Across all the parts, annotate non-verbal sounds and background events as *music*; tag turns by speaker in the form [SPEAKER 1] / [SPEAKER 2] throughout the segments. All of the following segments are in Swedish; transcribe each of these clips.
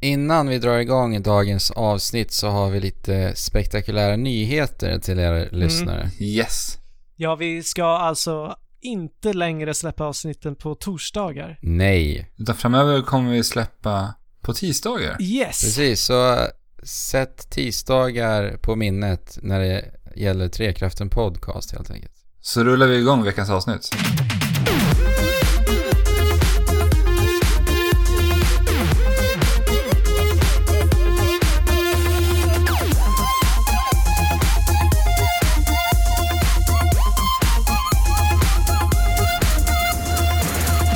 [SPEAKER 1] Innan vi drar igång dagens avsnitt så har vi lite spektakulära nyheter till er lyssnare.
[SPEAKER 2] Yes.
[SPEAKER 3] Ja, vi ska alltså inte längre släppa avsnitten på torsdagar.
[SPEAKER 1] Nej,
[SPEAKER 2] Utan framöver kommer vi släppa på tisdagar.
[SPEAKER 3] Yes!
[SPEAKER 1] precis. Så sätt tisdagar på minnet när det gäller Trekraften Podcast helt enkelt.
[SPEAKER 2] Så rullar vi igång veckans avsnitt.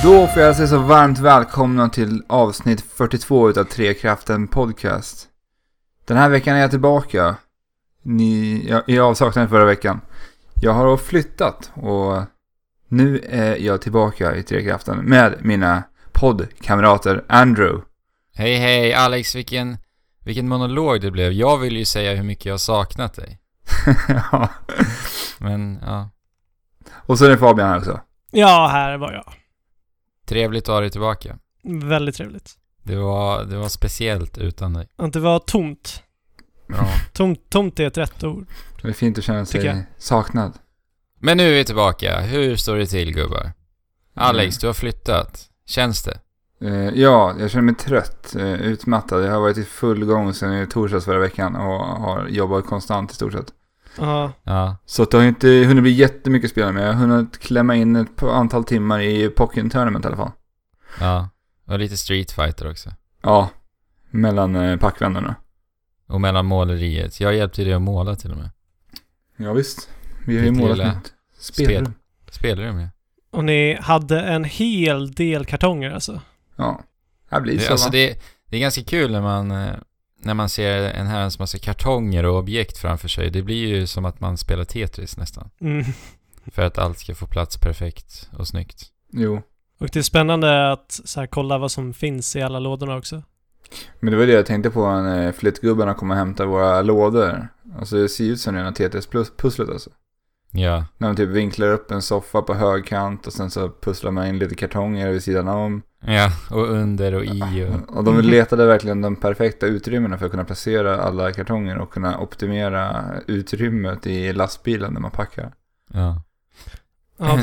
[SPEAKER 2] Då får jag säga så varmt välkomna till avsnitt 42 utav Trekraften Podcast. Den här veckan är jag tillbaka. Ni, jag, jag avsaknade förra veckan. Jag har flyttat och nu är jag tillbaka i Trekraften med mina poddkamrater Andrew. *laughs*
[SPEAKER 1] Hej hej Alex, vilken, vilken monolog det blev. Jag vill ju säga hur mycket jag har saknat dig.
[SPEAKER 2] Ja.
[SPEAKER 1] Men ja,
[SPEAKER 2] och så är det Fabian här också.
[SPEAKER 3] Ja, här var jag.
[SPEAKER 1] trevligt att ha dig tillbaka.
[SPEAKER 3] Väldigt trevligt.
[SPEAKER 1] Det var, det var speciellt utan dig.
[SPEAKER 3] Att det var tomt.
[SPEAKER 1] Ja.
[SPEAKER 3] Tomt, tomt är ett rätt ord.
[SPEAKER 2] Det är fint att känna sig
[SPEAKER 3] Tycker jag.
[SPEAKER 2] saknad.
[SPEAKER 1] *laughs* Men nu är vi tillbaka. Hur står det till gubbar? Alex, du har flyttat. Känns det?
[SPEAKER 2] Eh, ja, jag känner mig trött, eh, utmattad. Jag har varit i full gång sedan i torsdags förra veckan och har jobbat konstant i stort sett.
[SPEAKER 3] Ja,
[SPEAKER 1] Ja.
[SPEAKER 2] Så att det har inte hunnit bli jättemycket spel men jag har hunnit klämma in ett par- antal timmar i Pocken Tournament i alla fall.
[SPEAKER 1] Ja. Och lite Street Fighter också.
[SPEAKER 2] Ja, mellan eh, packvännerna.
[SPEAKER 1] Och mellan måleriet. Jag hjälpte dig att måla till och med.
[SPEAKER 2] Ja, visst. Vi har ju
[SPEAKER 1] Ditt
[SPEAKER 2] målat
[SPEAKER 1] lilla
[SPEAKER 2] nytt. Spelrum.
[SPEAKER 1] spel. Spelar du med?
[SPEAKER 3] och ni hade en hel del kartonger alltså.
[SPEAKER 2] Ja. Det här blir
[SPEAKER 1] Det,
[SPEAKER 2] så
[SPEAKER 1] alltså
[SPEAKER 2] va?
[SPEAKER 1] det, det är ganska kul när man, eh, när man ser en herrans massa kartonger och objekt framför sig. Det blir ju som att man spelar Tetris nästan.
[SPEAKER 3] Mm.
[SPEAKER 1] För att allt ska få plats perfekt och snyggt.
[SPEAKER 2] Jo.
[SPEAKER 3] Och det är spännande att så här, kolla vad som finns i alla lådorna också.
[SPEAKER 2] Men det var det jag tänkte på när flyttgubbarna kom och hämtade våra lådor. Alltså det ser ut som rena TTS-pusslet alltså.
[SPEAKER 1] Ja.
[SPEAKER 2] När man typ vinklar upp en soffa på högkant och sen så pusslar man in lite kartonger vid sidan om.
[SPEAKER 1] Ja, och under och i
[SPEAKER 2] *laughs*
[SPEAKER 1] och...
[SPEAKER 2] Och de letade verkligen de perfekta utrymmena för att kunna placera alla kartonger och kunna optimera utrymmet i lastbilen när man packar.
[SPEAKER 1] Ja.
[SPEAKER 3] Ja,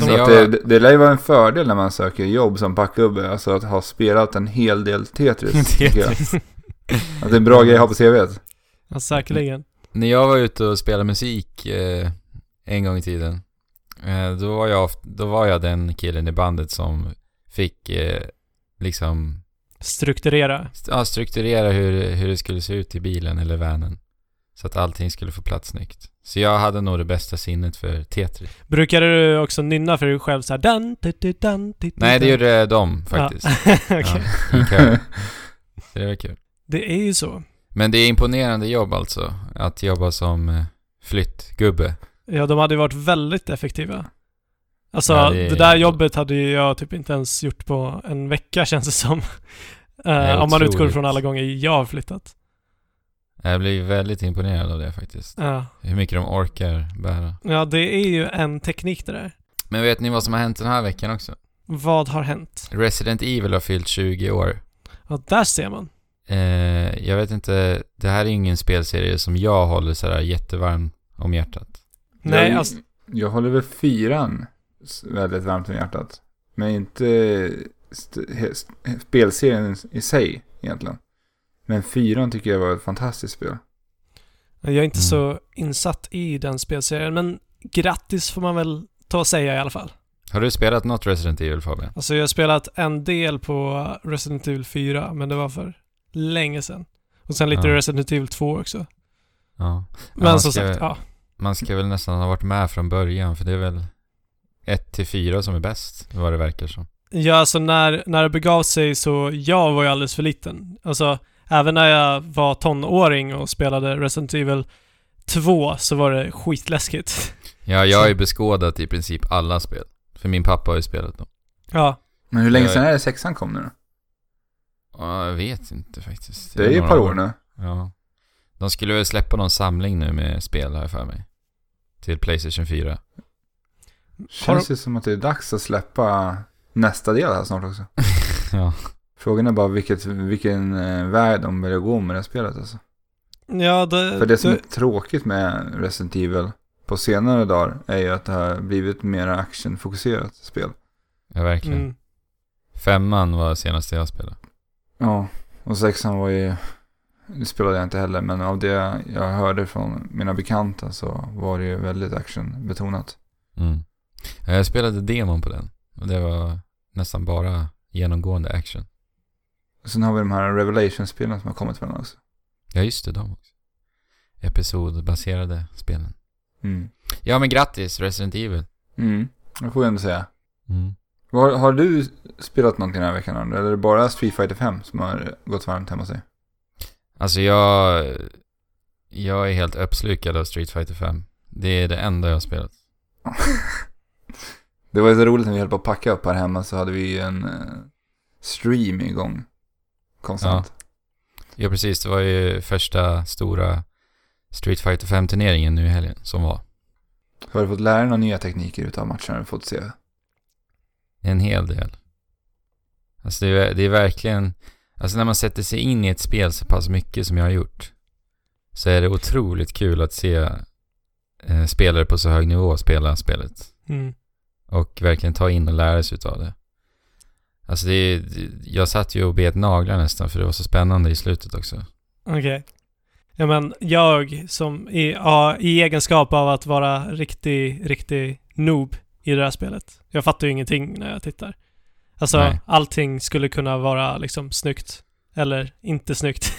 [SPEAKER 1] *laughs* Så
[SPEAKER 2] Så
[SPEAKER 3] de,
[SPEAKER 1] jag-
[SPEAKER 2] att det, det lär ju vara en fördel när man söker jobb som packgubbe, alltså att ha spelat en hel
[SPEAKER 1] *laughs*
[SPEAKER 2] del Tetris. tycker jag.
[SPEAKER 1] Tetris.
[SPEAKER 2] Att det är en bra grej att ha på CVt.
[SPEAKER 3] ja, säkerligen.
[SPEAKER 1] När jag var ute och spelade musik eh, en gång i tiden, eh, då, var jag, oft- då var jag den killen i bandet som fick eh, liksom
[SPEAKER 3] Strukturera.
[SPEAKER 1] st- ja, strukturera hur, hur det skulle se ut i bilen eller vanen. Så att allting skulle få plats snyggt. Så jag hade nog det bästa sinnet för Tetris.
[SPEAKER 3] Brukade du också nynna för dig själv så här, dan, di, di, dan, di, di,
[SPEAKER 1] Nej, det
[SPEAKER 3] dan"?
[SPEAKER 1] gjorde de faktiskt.
[SPEAKER 3] Ja.
[SPEAKER 1] Ja, i
[SPEAKER 3] *laughs* Okej.
[SPEAKER 1] kör. Så det var kul.
[SPEAKER 3] Det är ju så.
[SPEAKER 1] Men det är imponerande jobb alltså, att jobba som eh, flyttgubbe.
[SPEAKER 3] Ja, de hade ju varit väldigt effektiva. Alltså,
[SPEAKER 1] Ja, det
[SPEAKER 3] det,
[SPEAKER 1] är-
[SPEAKER 3] där jobbet hade ju jag typ inte ens gjort på en vecka *laughs* känns det som. Eh, om man utgår
[SPEAKER 1] otroligt.
[SPEAKER 3] från alla gånger jag har flyttat.
[SPEAKER 1] Jag blir väldigt imponerad av det faktiskt.
[SPEAKER 3] Ja.
[SPEAKER 1] Hur mycket de orkar bära.
[SPEAKER 3] Eh, ja, det är ju en teknik det där.
[SPEAKER 1] Men vet ni vad som har hänt den här veckan också?
[SPEAKER 3] Vad har hänt?
[SPEAKER 1] Resident Evil har fyllt 20 år.
[SPEAKER 3] Ja, där ser man.
[SPEAKER 1] Eh, jag vet inte, det här är ingen spelserie som jag håller sådär jättevarm om hjärtat.
[SPEAKER 3] Nej,
[SPEAKER 2] jag,
[SPEAKER 3] alltså,
[SPEAKER 2] jag håller väl fyran s- väldigt varmt om hjärtat. Men inte st- he- st- spelserien i sig egentligen. Men fyran tycker jag var ett fantastiskt spel.
[SPEAKER 3] jag är inte
[SPEAKER 1] Mm.
[SPEAKER 3] så insatt i den spelserien, men grattis får man väl ta och säga i alla fall.
[SPEAKER 1] Har du spelat något Resident Evil Fabian?
[SPEAKER 3] Alltså, jag har spelat en del på Resident Evil 4, men det var för länge sedan. Och sen lite
[SPEAKER 1] Ja.
[SPEAKER 3] Resident Evil 2 också.
[SPEAKER 1] Ja.
[SPEAKER 3] Men
[SPEAKER 1] man
[SPEAKER 3] som
[SPEAKER 1] ska-
[SPEAKER 3] sagt, ja.
[SPEAKER 1] Man ska väl nästan ha varit med från början för det är väl 1-4 som är bäst, vad det verkar som.
[SPEAKER 3] Ja, alltså när, när det begav sig så jag var ju alldeles för liten. Alltså, även när jag var tonåring och spelade Resident Evil 2 så var det skitläskigt. *laughs*
[SPEAKER 1] Ja, jag har ju beskådat i princip alla spel. För min pappa har ju spelat dem.
[SPEAKER 3] Ja,
[SPEAKER 2] Men hur länge
[SPEAKER 1] Jag-
[SPEAKER 2] sedan är det sexan kom nu då?
[SPEAKER 1] Ja, jag vet inte faktiskt.
[SPEAKER 2] Det är ju ett
[SPEAKER 1] några
[SPEAKER 2] par år nu.
[SPEAKER 1] Ja. De skulle väl släppa någon samling nu med spel här för mig. Till Playstation 4.
[SPEAKER 2] Känns ju som att det är dags att släppa nästa del här snart också.
[SPEAKER 1] ja.
[SPEAKER 2] Frågan är bara vilket, vilken eh, värld de vill gå med det här spelet alltså.
[SPEAKER 3] Ja, det,
[SPEAKER 2] För det som är
[SPEAKER 3] det,
[SPEAKER 2] tråkigt med Resident Evil på senare dagar är ju att det har blivit mer actionfokuserat spel.
[SPEAKER 1] Ja, verkligen.
[SPEAKER 3] mm,
[SPEAKER 1] Femman var senaste jag spelade.
[SPEAKER 2] Ja, och sexan var ju... Nu spelade jag inte heller, men av det jag hörde från mina bekanta så var det ju väldigt actionbetonat.
[SPEAKER 1] Mm. Ja, Jag spelade demon på den. Och det var nästan bara genomgående action.
[SPEAKER 2] Sen har vi de här Revelation-spelen som har kommit med den också.
[SPEAKER 1] Ja, just det, de också. Episodbaserade spelen.
[SPEAKER 2] Mm.
[SPEAKER 1] Ja, men grattis Resident Evil.
[SPEAKER 2] Mm, det får jag ändå säga.
[SPEAKER 1] Mm.
[SPEAKER 2] Har, har du spelat någonting den här veckan Andrew? Eller är det bara Street Fighter 5 som har gått varmt hemma hos dig?
[SPEAKER 1] Alltså jag... Jag är helt uppslukad av Street Fighter 5. Det är det enda jag har spelat.
[SPEAKER 2] Det var ju så roligt när vi höll på att packa upp här hemma så hade vi ju en eh, stream igång. Konstant.
[SPEAKER 1] Ja, precis. Det var ju första stora Street Fighter 5-turneringen nu i helgen som var.
[SPEAKER 2] Har du fått lära dig några nya tekniker utav matchen? Har du fått se?
[SPEAKER 1] En hel del. Alltså det är, det är verkligen... Alltså när man sätter sig in i ett spel så pass mycket som jag har gjort så är det otroligt kul att se eh, spelare på så hög nivå spela spelet.
[SPEAKER 3] mm,
[SPEAKER 1] Och verkligen ta in och lära sig utav det. Alltså det är, jag satt ju och bet naglar nästan för det var så spännande i slutet också.
[SPEAKER 3] okej. Ja, men jag som i, ja, i egenskap av att vara riktig, riktig noob i det här spelet. Jag fattar ju ingenting när jag tittar. Alltså,
[SPEAKER 1] Nej.
[SPEAKER 3] allting skulle kunna vara liksom snyggt. Eller inte snyggt. *laughs*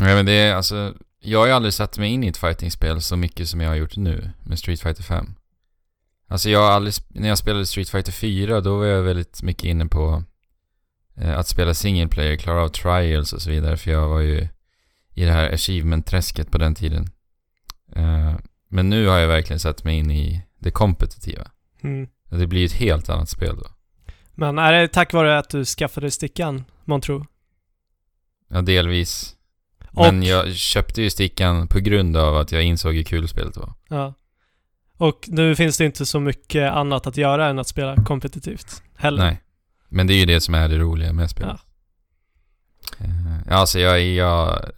[SPEAKER 1] Ja, men det är alltså, jag har ju aldrig satt mig in i ett fightingspel så mycket som jag har gjort nu med Street Fighter 5. Alltså jag har aldrig, sp- när jag spelade Street Fighter 4 då var jag väldigt mycket inne på eh, att spela single player, klara av trials och så vidare för jag var ju i det här achievement-träsket på den tiden. Eh, men nu har jag verkligen satt mig in i det kompetitiva.
[SPEAKER 3] mm.
[SPEAKER 1] Ja, Det blir ju ett helt annat spel då.
[SPEAKER 3] Men är det tack vare att du skaffade stickan, man tror?
[SPEAKER 1] Ja, delvis.
[SPEAKER 3] Och-
[SPEAKER 1] Men jag köpte ju stickan på grund av att jag insåg hur kul spelet var.
[SPEAKER 3] Ja. Och nu finns det inte så mycket annat att göra än att spela kompetitivt heller.
[SPEAKER 1] Nej. Men det är ju det som är det roliga med spelet. Ja. alltså jag, jag...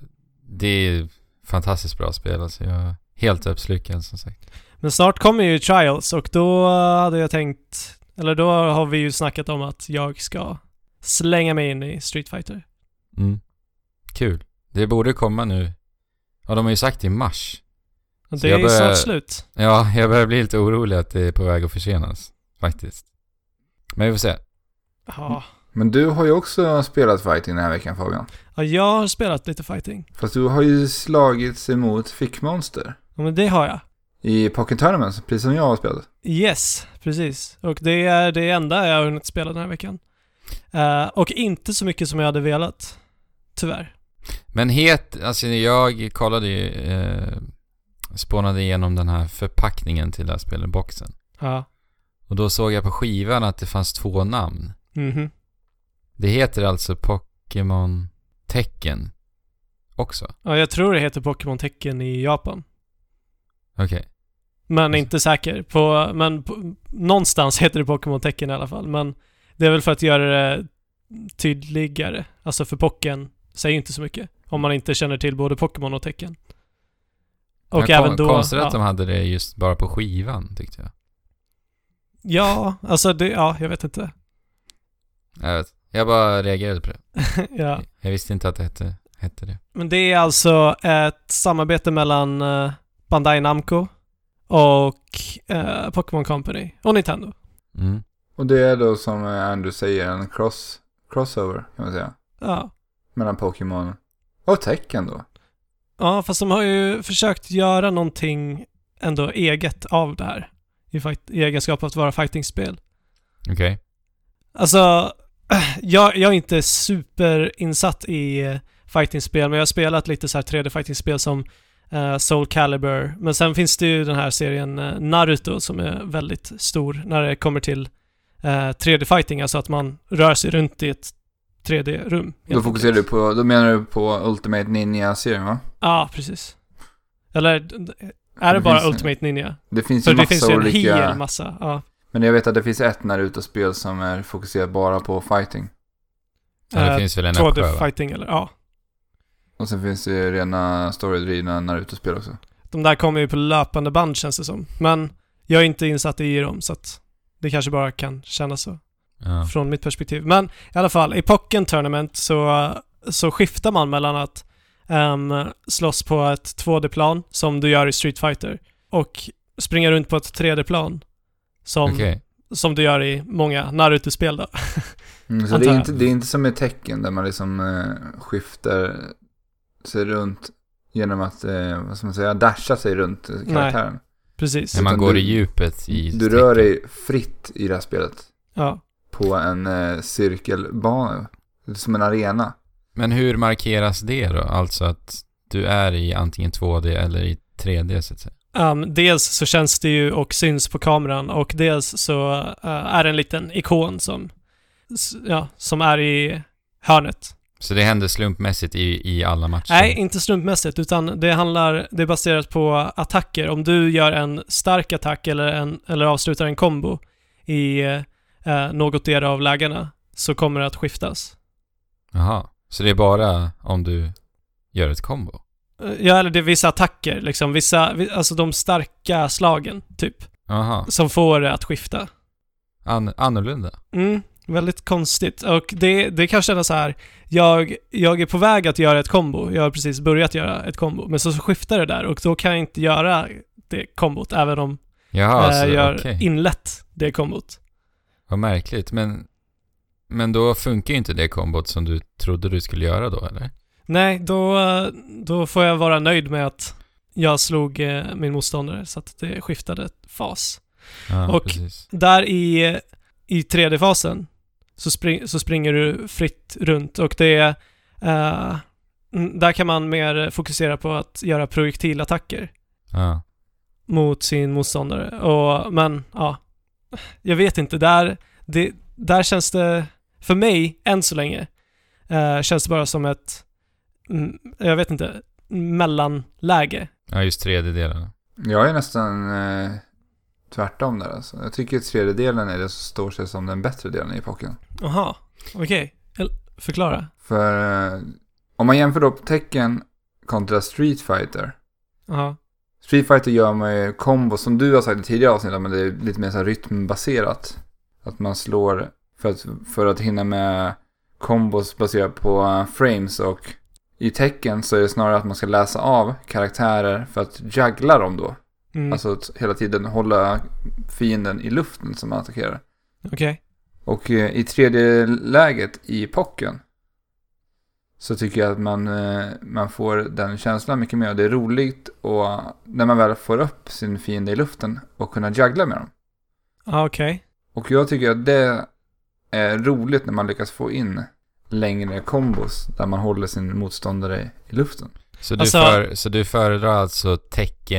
[SPEAKER 1] Det är fantastiskt bra spel alltså. Jag är helt uppslukad som sagt.
[SPEAKER 3] Men snart kommer ju Trials och då hade jag tänkt, eller då har vi ju snackat om att jag ska slänga mig in i Street Fighter.
[SPEAKER 1] Mm. Kul. Det borde komma nu. Ja, de har ju sagt i mars.
[SPEAKER 3] Och
[SPEAKER 1] Så
[SPEAKER 3] det är
[SPEAKER 1] jag
[SPEAKER 3] ju
[SPEAKER 1] börjar-
[SPEAKER 3] snart slut.
[SPEAKER 1] Ja, jag börjar bli lite orolig att det är på väg att försenas. Faktiskt. Men vi får se.
[SPEAKER 3] Ja.
[SPEAKER 2] Men du har ju också spelat fighting den här veckan Fabian.
[SPEAKER 3] ja, jag har spelat lite fighting.
[SPEAKER 2] Fast du har ju slagits emot fickmonster
[SPEAKER 3] Ja, men det har jag.
[SPEAKER 2] i Pocket Tournaments, precis som jag har spelat.
[SPEAKER 3] Yes, precis. Och det är det enda jag har hunnit spela den här veckan. Eh, och inte så mycket som jag hade velat. Tyvärr.
[SPEAKER 1] Men het, alltså jag kollade ju, eh, spånade igenom den här förpackningen till det här spelet, boxen.
[SPEAKER 3] Ja.
[SPEAKER 1] Och då såg jag på skivan att det fanns två namn.
[SPEAKER 3] Mhm.
[SPEAKER 1] Det heter alltså Pokémon Tecken också.
[SPEAKER 3] Ja, jag tror det heter Pokémon tecken i Japan.
[SPEAKER 1] Okej.
[SPEAKER 3] Men inte säker. På, men på, någonstans *laughs* heter det Pokémon tecken i alla fall. Men det är väl för att göra det tydligare. Alltså för pocken säger ju inte så mycket. Om man inte känner till både Pokémon och tecken. Och
[SPEAKER 1] Men
[SPEAKER 3] även då...
[SPEAKER 1] Konstigt
[SPEAKER 3] ja.
[SPEAKER 1] att de hade det just bara på skivan tyckte jag.
[SPEAKER 3] ja, alltså det, ja, jag vet inte. *laughs*
[SPEAKER 1] Jag vet. Jag bara reagerade på det.
[SPEAKER 3] ja.
[SPEAKER 1] Jag visste inte att det hette, hette det.
[SPEAKER 3] Men det är alltså ett samarbete mellan eh, Bandai Namco och eh, Pokémon Company och Nintendo.
[SPEAKER 1] Mm.
[SPEAKER 2] Och det är då som eh, Andrew säger en cross, crossover kan man säga.
[SPEAKER 3] Ja.
[SPEAKER 2] Mellan Pokémon och tecken då.
[SPEAKER 3] ja, fast de har ju försökt göra någonting ändå eget av det här i, fight- i egenskap av att vara fightingspel.
[SPEAKER 1] Okej.
[SPEAKER 3] Alltså, *clears throat* jag, jag är inte superinsatt i eh, fightingspel, men jag har spelat lite så här 3D-fightingspel som eh, Soul Calibur. Men sen finns det ju den här serien eh, Naruto som är väldigt stor när det kommer till eh, 3D-fighting, alltså att man rör sig runt i ett 3D-rum.
[SPEAKER 2] Då fokuserar du på, då menar du på Ultimate Ninja-serien va?
[SPEAKER 3] Ja, precis. Eller d- d- är det,
[SPEAKER 2] Det
[SPEAKER 3] bara
[SPEAKER 2] finns-
[SPEAKER 3] Ultimate Ninja?
[SPEAKER 2] Det finns
[SPEAKER 3] För
[SPEAKER 2] ju
[SPEAKER 3] det
[SPEAKER 2] massa
[SPEAKER 3] finns ju en
[SPEAKER 2] olika...
[SPEAKER 3] hel massa. Ja.
[SPEAKER 2] Men jag vet att det finns ett Naruto-spel som är fokuserat bara på fighting.
[SPEAKER 1] Ja, det
[SPEAKER 3] Eh,
[SPEAKER 1] finns väl en
[SPEAKER 3] Tråd
[SPEAKER 1] uppsjö va?
[SPEAKER 3] fighting eller ja.
[SPEAKER 2] Och sen finns det ju rena storydrivna Naruto-spel också.
[SPEAKER 3] De där kommer ju på löpande band känns det som. Men jag är inte insatt i dem så att det kanske bara kan kännas så
[SPEAKER 1] Ja.
[SPEAKER 3] från mitt perspektiv. Men i alla fall, i Pocken Tournament så, så skiftar man mellan att um, slåss på ett 2D-plan som du gör i Street Fighter och springa runt på ett 3D-plan som,
[SPEAKER 1] Okej.
[SPEAKER 3] som du gör i många Naruto-spel då. *laughs*
[SPEAKER 2] Mm, så det
[SPEAKER 3] Antar
[SPEAKER 2] är,
[SPEAKER 3] jag.
[SPEAKER 2] inte, det är inte som i tecken där man liksom eh, skiftar sig runt genom att, eh, vad ska man säga, dasha sig runt eh, karaktären.
[SPEAKER 3] Precis.
[SPEAKER 1] När man
[SPEAKER 2] Utan
[SPEAKER 1] går
[SPEAKER 2] du-
[SPEAKER 1] i djupet i...
[SPEAKER 2] Du rör dig fritt i det här spelet
[SPEAKER 3] Ja.
[SPEAKER 2] på en eh, cirkelbana, som en arena.
[SPEAKER 1] Men hur markeras det då? Alltså att du är i antingen 2D eller i 3D så att säga.
[SPEAKER 3] Um, dels så känns det ju och syns på kameran och dels så eh, är det en liten ikon som, s- ja, som är i hörnet.
[SPEAKER 1] Så det händer slumpmässigt i, i alla matcher?
[SPEAKER 3] Nej, inte slumpmässigt, utan det handlar, det är baserat på attacker. Om du gör en stark attack eller, en, eller avslutar en kombo i eh, något del av lägena så kommer det att skiftas.
[SPEAKER 1] Jaha. Så det är bara om du gör ett combo?
[SPEAKER 3] Eh, Ja, eller det är vissa attacker, liksom vissa, vi- alltså de starka slagen, typ,
[SPEAKER 1] Jaha.
[SPEAKER 3] som får det att skifta.
[SPEAKER 1] An- annorlunda?
[SPEAKER 3] Mm, väldigt konstigt. Och det, det kan kännas så här, jag, jag är på väg att göra ett kombo, jag har precis börjat göra ett kombo, men så, så skiftar det där och då kan jag inte göra det kombot, även om
[SPEAKER 1] Jaha,
[SPEAKER 3] eh,
[SPEAKER 1] Ah, så
[SPEAKER 3] gör
[SPEAKER 1] okej.
[SPEAKER 3] inlett det kombot.
[SPEAKER 1] Vad märkligt. Men, men då funkar ju inte det kombot som du trodde du skulle göra då, eller?
[SPEAKER 3] Nej, då, eh, då får jag vara nöjd med att jag slog eh, min motståndare så att det skiftade fas.
[SPEAKER 1] Ja,
[SPEAKER 3] Och-
[SPEAKER 1] precis.
[SPEAKER 3] Där i, i 3D-fasen så, spring, så springer du fritt runt och det är eh, mm, där kan man mer fokusera på att göra projektilattacker
[SPEAKER 1] Ja.
[SPEAKER 3] mot sin motståndare. Och, men ja, jag vet inte. Där, det, där känns det, för mig, än så länge, eh, känns det bara som ett, mm, jag vet inte, mellanläge.
[SPEAKER 1] ja, just 3D-delarna.
[SPEAKER 2] Jag är nästan eh, tvärtom där alltså. Jag tycker tredje delen är det som står sig som den bättre delen i pocken.
[SPEAKER 3] Jaha, okej. El- Förklara.
[SPEAKER 2] För eh, om man jämför då tecken kontra Street Fighter.
[SPEAKER 3] Jaha.
[SPEAKER 2] Street Fighter gör man ju kombo som du har sagt i tidigare avsnitt, men det är lite mer så här rytmbaserat. Att man slår för att, för att hinna med kombos baserat på eh, frames och i tecken så är det snarare att man ska läsa av karaktärer för att juggla dem då.
[SPEAKER 3] Mm.
[SPEAKER 2] Alltså att hela tiden hålla fienden i luften som man attackerar.
[SPEAKER 3] Okej.
[SPEAKER 2] Och eh, i tredje läget i pocken så tycker jag att man, eh, man får den känslan mycket mer. Det är roligt och när man väl får upp sin fiende i luften och kunna juggla med dem.
[SPEAKER 3] Ja, okej.
[SPEAKER 2] Och jag tycker att det är roligt när man lyckas få in längre kombos där man håller sin motståndare i luften.
[SPEAKER 1] Så du,
[SPEAKER 3] Alltså-
[SPEAKER 1] för, så du föredrar alltså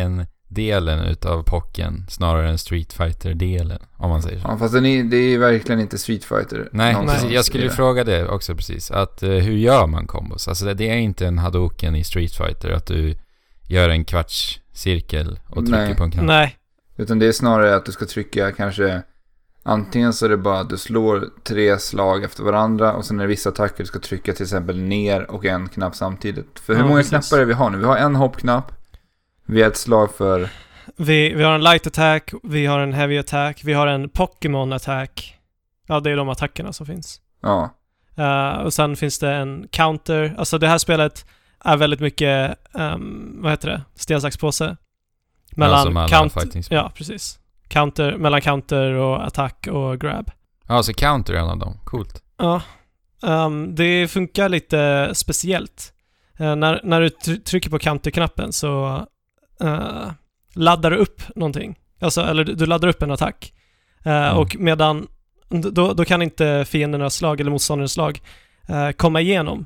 [SPEAKER 1] tecken-delen utav pocken snarare än Street Fighter-delen, om man säger så?
[SPEAKER 2] Ja, fast den är, det är ju verkligen inte Street Fighter.
[SPEAKER 1] Nej,
[SPEAKER 2] någonstans
[SPEAKER 1] precis. jag skulle
[SPEAKER 2] i
[SPEAKER 1] ju
[SPEAKER 2] det.
[SPEAKER 1] fråga det också precis. Att eh, hur gör man kombos? Alltså det, det är inte en hadoken i Street Fighter att du gör en kvarts cirkel och trycker
[SPEAKER 2] Nej.
[SPEAKER 1] på en knapp.
[SPEAKER 3] Nej.
[SPEAKER 2] Utan det är snarare att du ska trycka kanske Antingen så är det bara att du slår tre slag efter varandra och sen är det vissa attacker du ska trycka till exempel ner och en knapp samtidigt. För hur
[SPEAKER 3] Ja,
[SPEAKER 2] många
[SPEAKER 3] precis.
[SPEAKER 2] knappar är det vi har nu? Vi har en hoppknapp, vi har ett slag för...
[SPEAKER 3] Vi, vi har en light attack, vi har en heavy attack, vi har en Pokémon attack. Ja, det är de attackerna som finns.
[SPEAKER 2] Ja,
[SPEAKER 3] Eh, och sen finns det en counter. Alltså det här spelet är väldigt mycket, ehm, vad heter det, sten, sax, påse.
[SPEAKER 1] Ja, som alla
[SPEAKER 3] counter,
[SPEAKER 1] fightingspel.
[SPEAKER 3] ja precis. Counter, mellan counter och attack och grab.
[SPEAKER 1] Ja, så counter är en av dem. Coolt.
[SPEAKER 3] Ja, Ehm, det funkar lite speciellt. Eh, när, när du tr- trycker på counter-knappen så eh, laddar du upp någonting. Alltså, eller du, du laddar upp en attack. Eh,
[SPEAKER 1] Mm.
[SPEAKER 3] Och medan, d- då, då kan inte fiendernas slag eller motståndarnas slag eh, komma igenom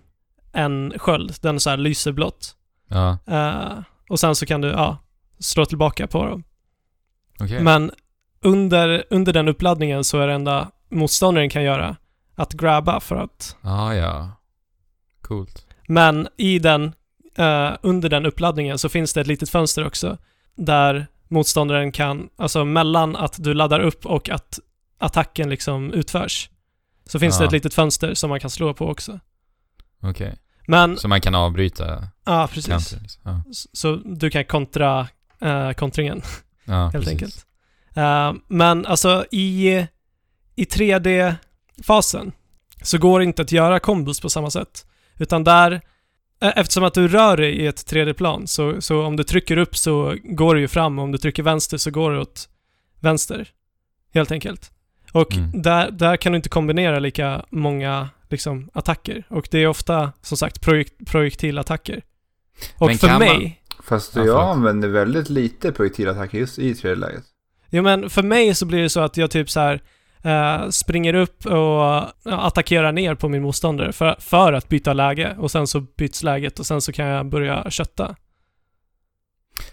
[SPEAKER 3] en sköld. Den så här lyser blått.
[SPEAKER 1] Ja,
[SPEAKER 3] Eh, och sen så kan du, ja, slå tillbaka på dem.
[SPEAKER 1] okej.
[SPEAKER 3] Men under, under den uppladdningen så är det enda motståndaren kan göra att grabba för att
[SPEAKER 1] Ah, ja. Coolt.
[SPEAKER 3] Men i den, eh, under den uppladdningen så finns det ett litet fönster också där motståndaren kan, alltså mellan att du laddar upp och att attacken liksom utförs, Så finns
[SPEAKER 1] Ja.
[SPEAKER 3] det ett litet fönster som man kan slå på också.
[SPEAKER 1] Okej.
[SPEAKER 3] Men,
[SPEAKER 1] Så man kan avbryta
[SPEAKER 3] ja ah, precis.
[SPEAKER 1] kanter. Liksom. Ja.
[SPEAKER 3] S- Så du kan kontra eh, kontringen
[SPEAKER 1] ja,
[SPEAKER 3] helt
[SPEAKER 1] precis.
[SPEAKER 3] enkelt. Eh, men alltså i, i 3D-fasen så går det inte att göra kombos på samma sätt. Utan där, eh, eftersom att du rör dig i ett 3D-plan, så, så om du trycker upp så går det ju fram och om du trycker vänster så går det åt vänster. Helt enkelt. Och
[SPEAKER 1] Mm.
[SPEAKER 3] där, där kan du inte kombinera lika många liksom, attacker. Och det är ofta, som sagt, projekt, projektilattacker. Och
[SPEAKER 1] Men
[SPEAKER 3] för
[SPEAKER 1] kan man-
[SPEAKER 3] mig,
[SPEAKER 2] Fast
[SPEAKER 1] Ja,
[SPEAKER 2] jag
[SPEAKER 1] förlåt.
[SPEAKER 2] använder väldigt lite projektilattacker just i tredje läget.
[SPEAKER 3] Jo men för mig så blir det så att jag typ så här eh, springer upp och ja, attackerar ner på min motståndare för, för att byta läge och sen så byts läget och sen så kan jag börja kötta.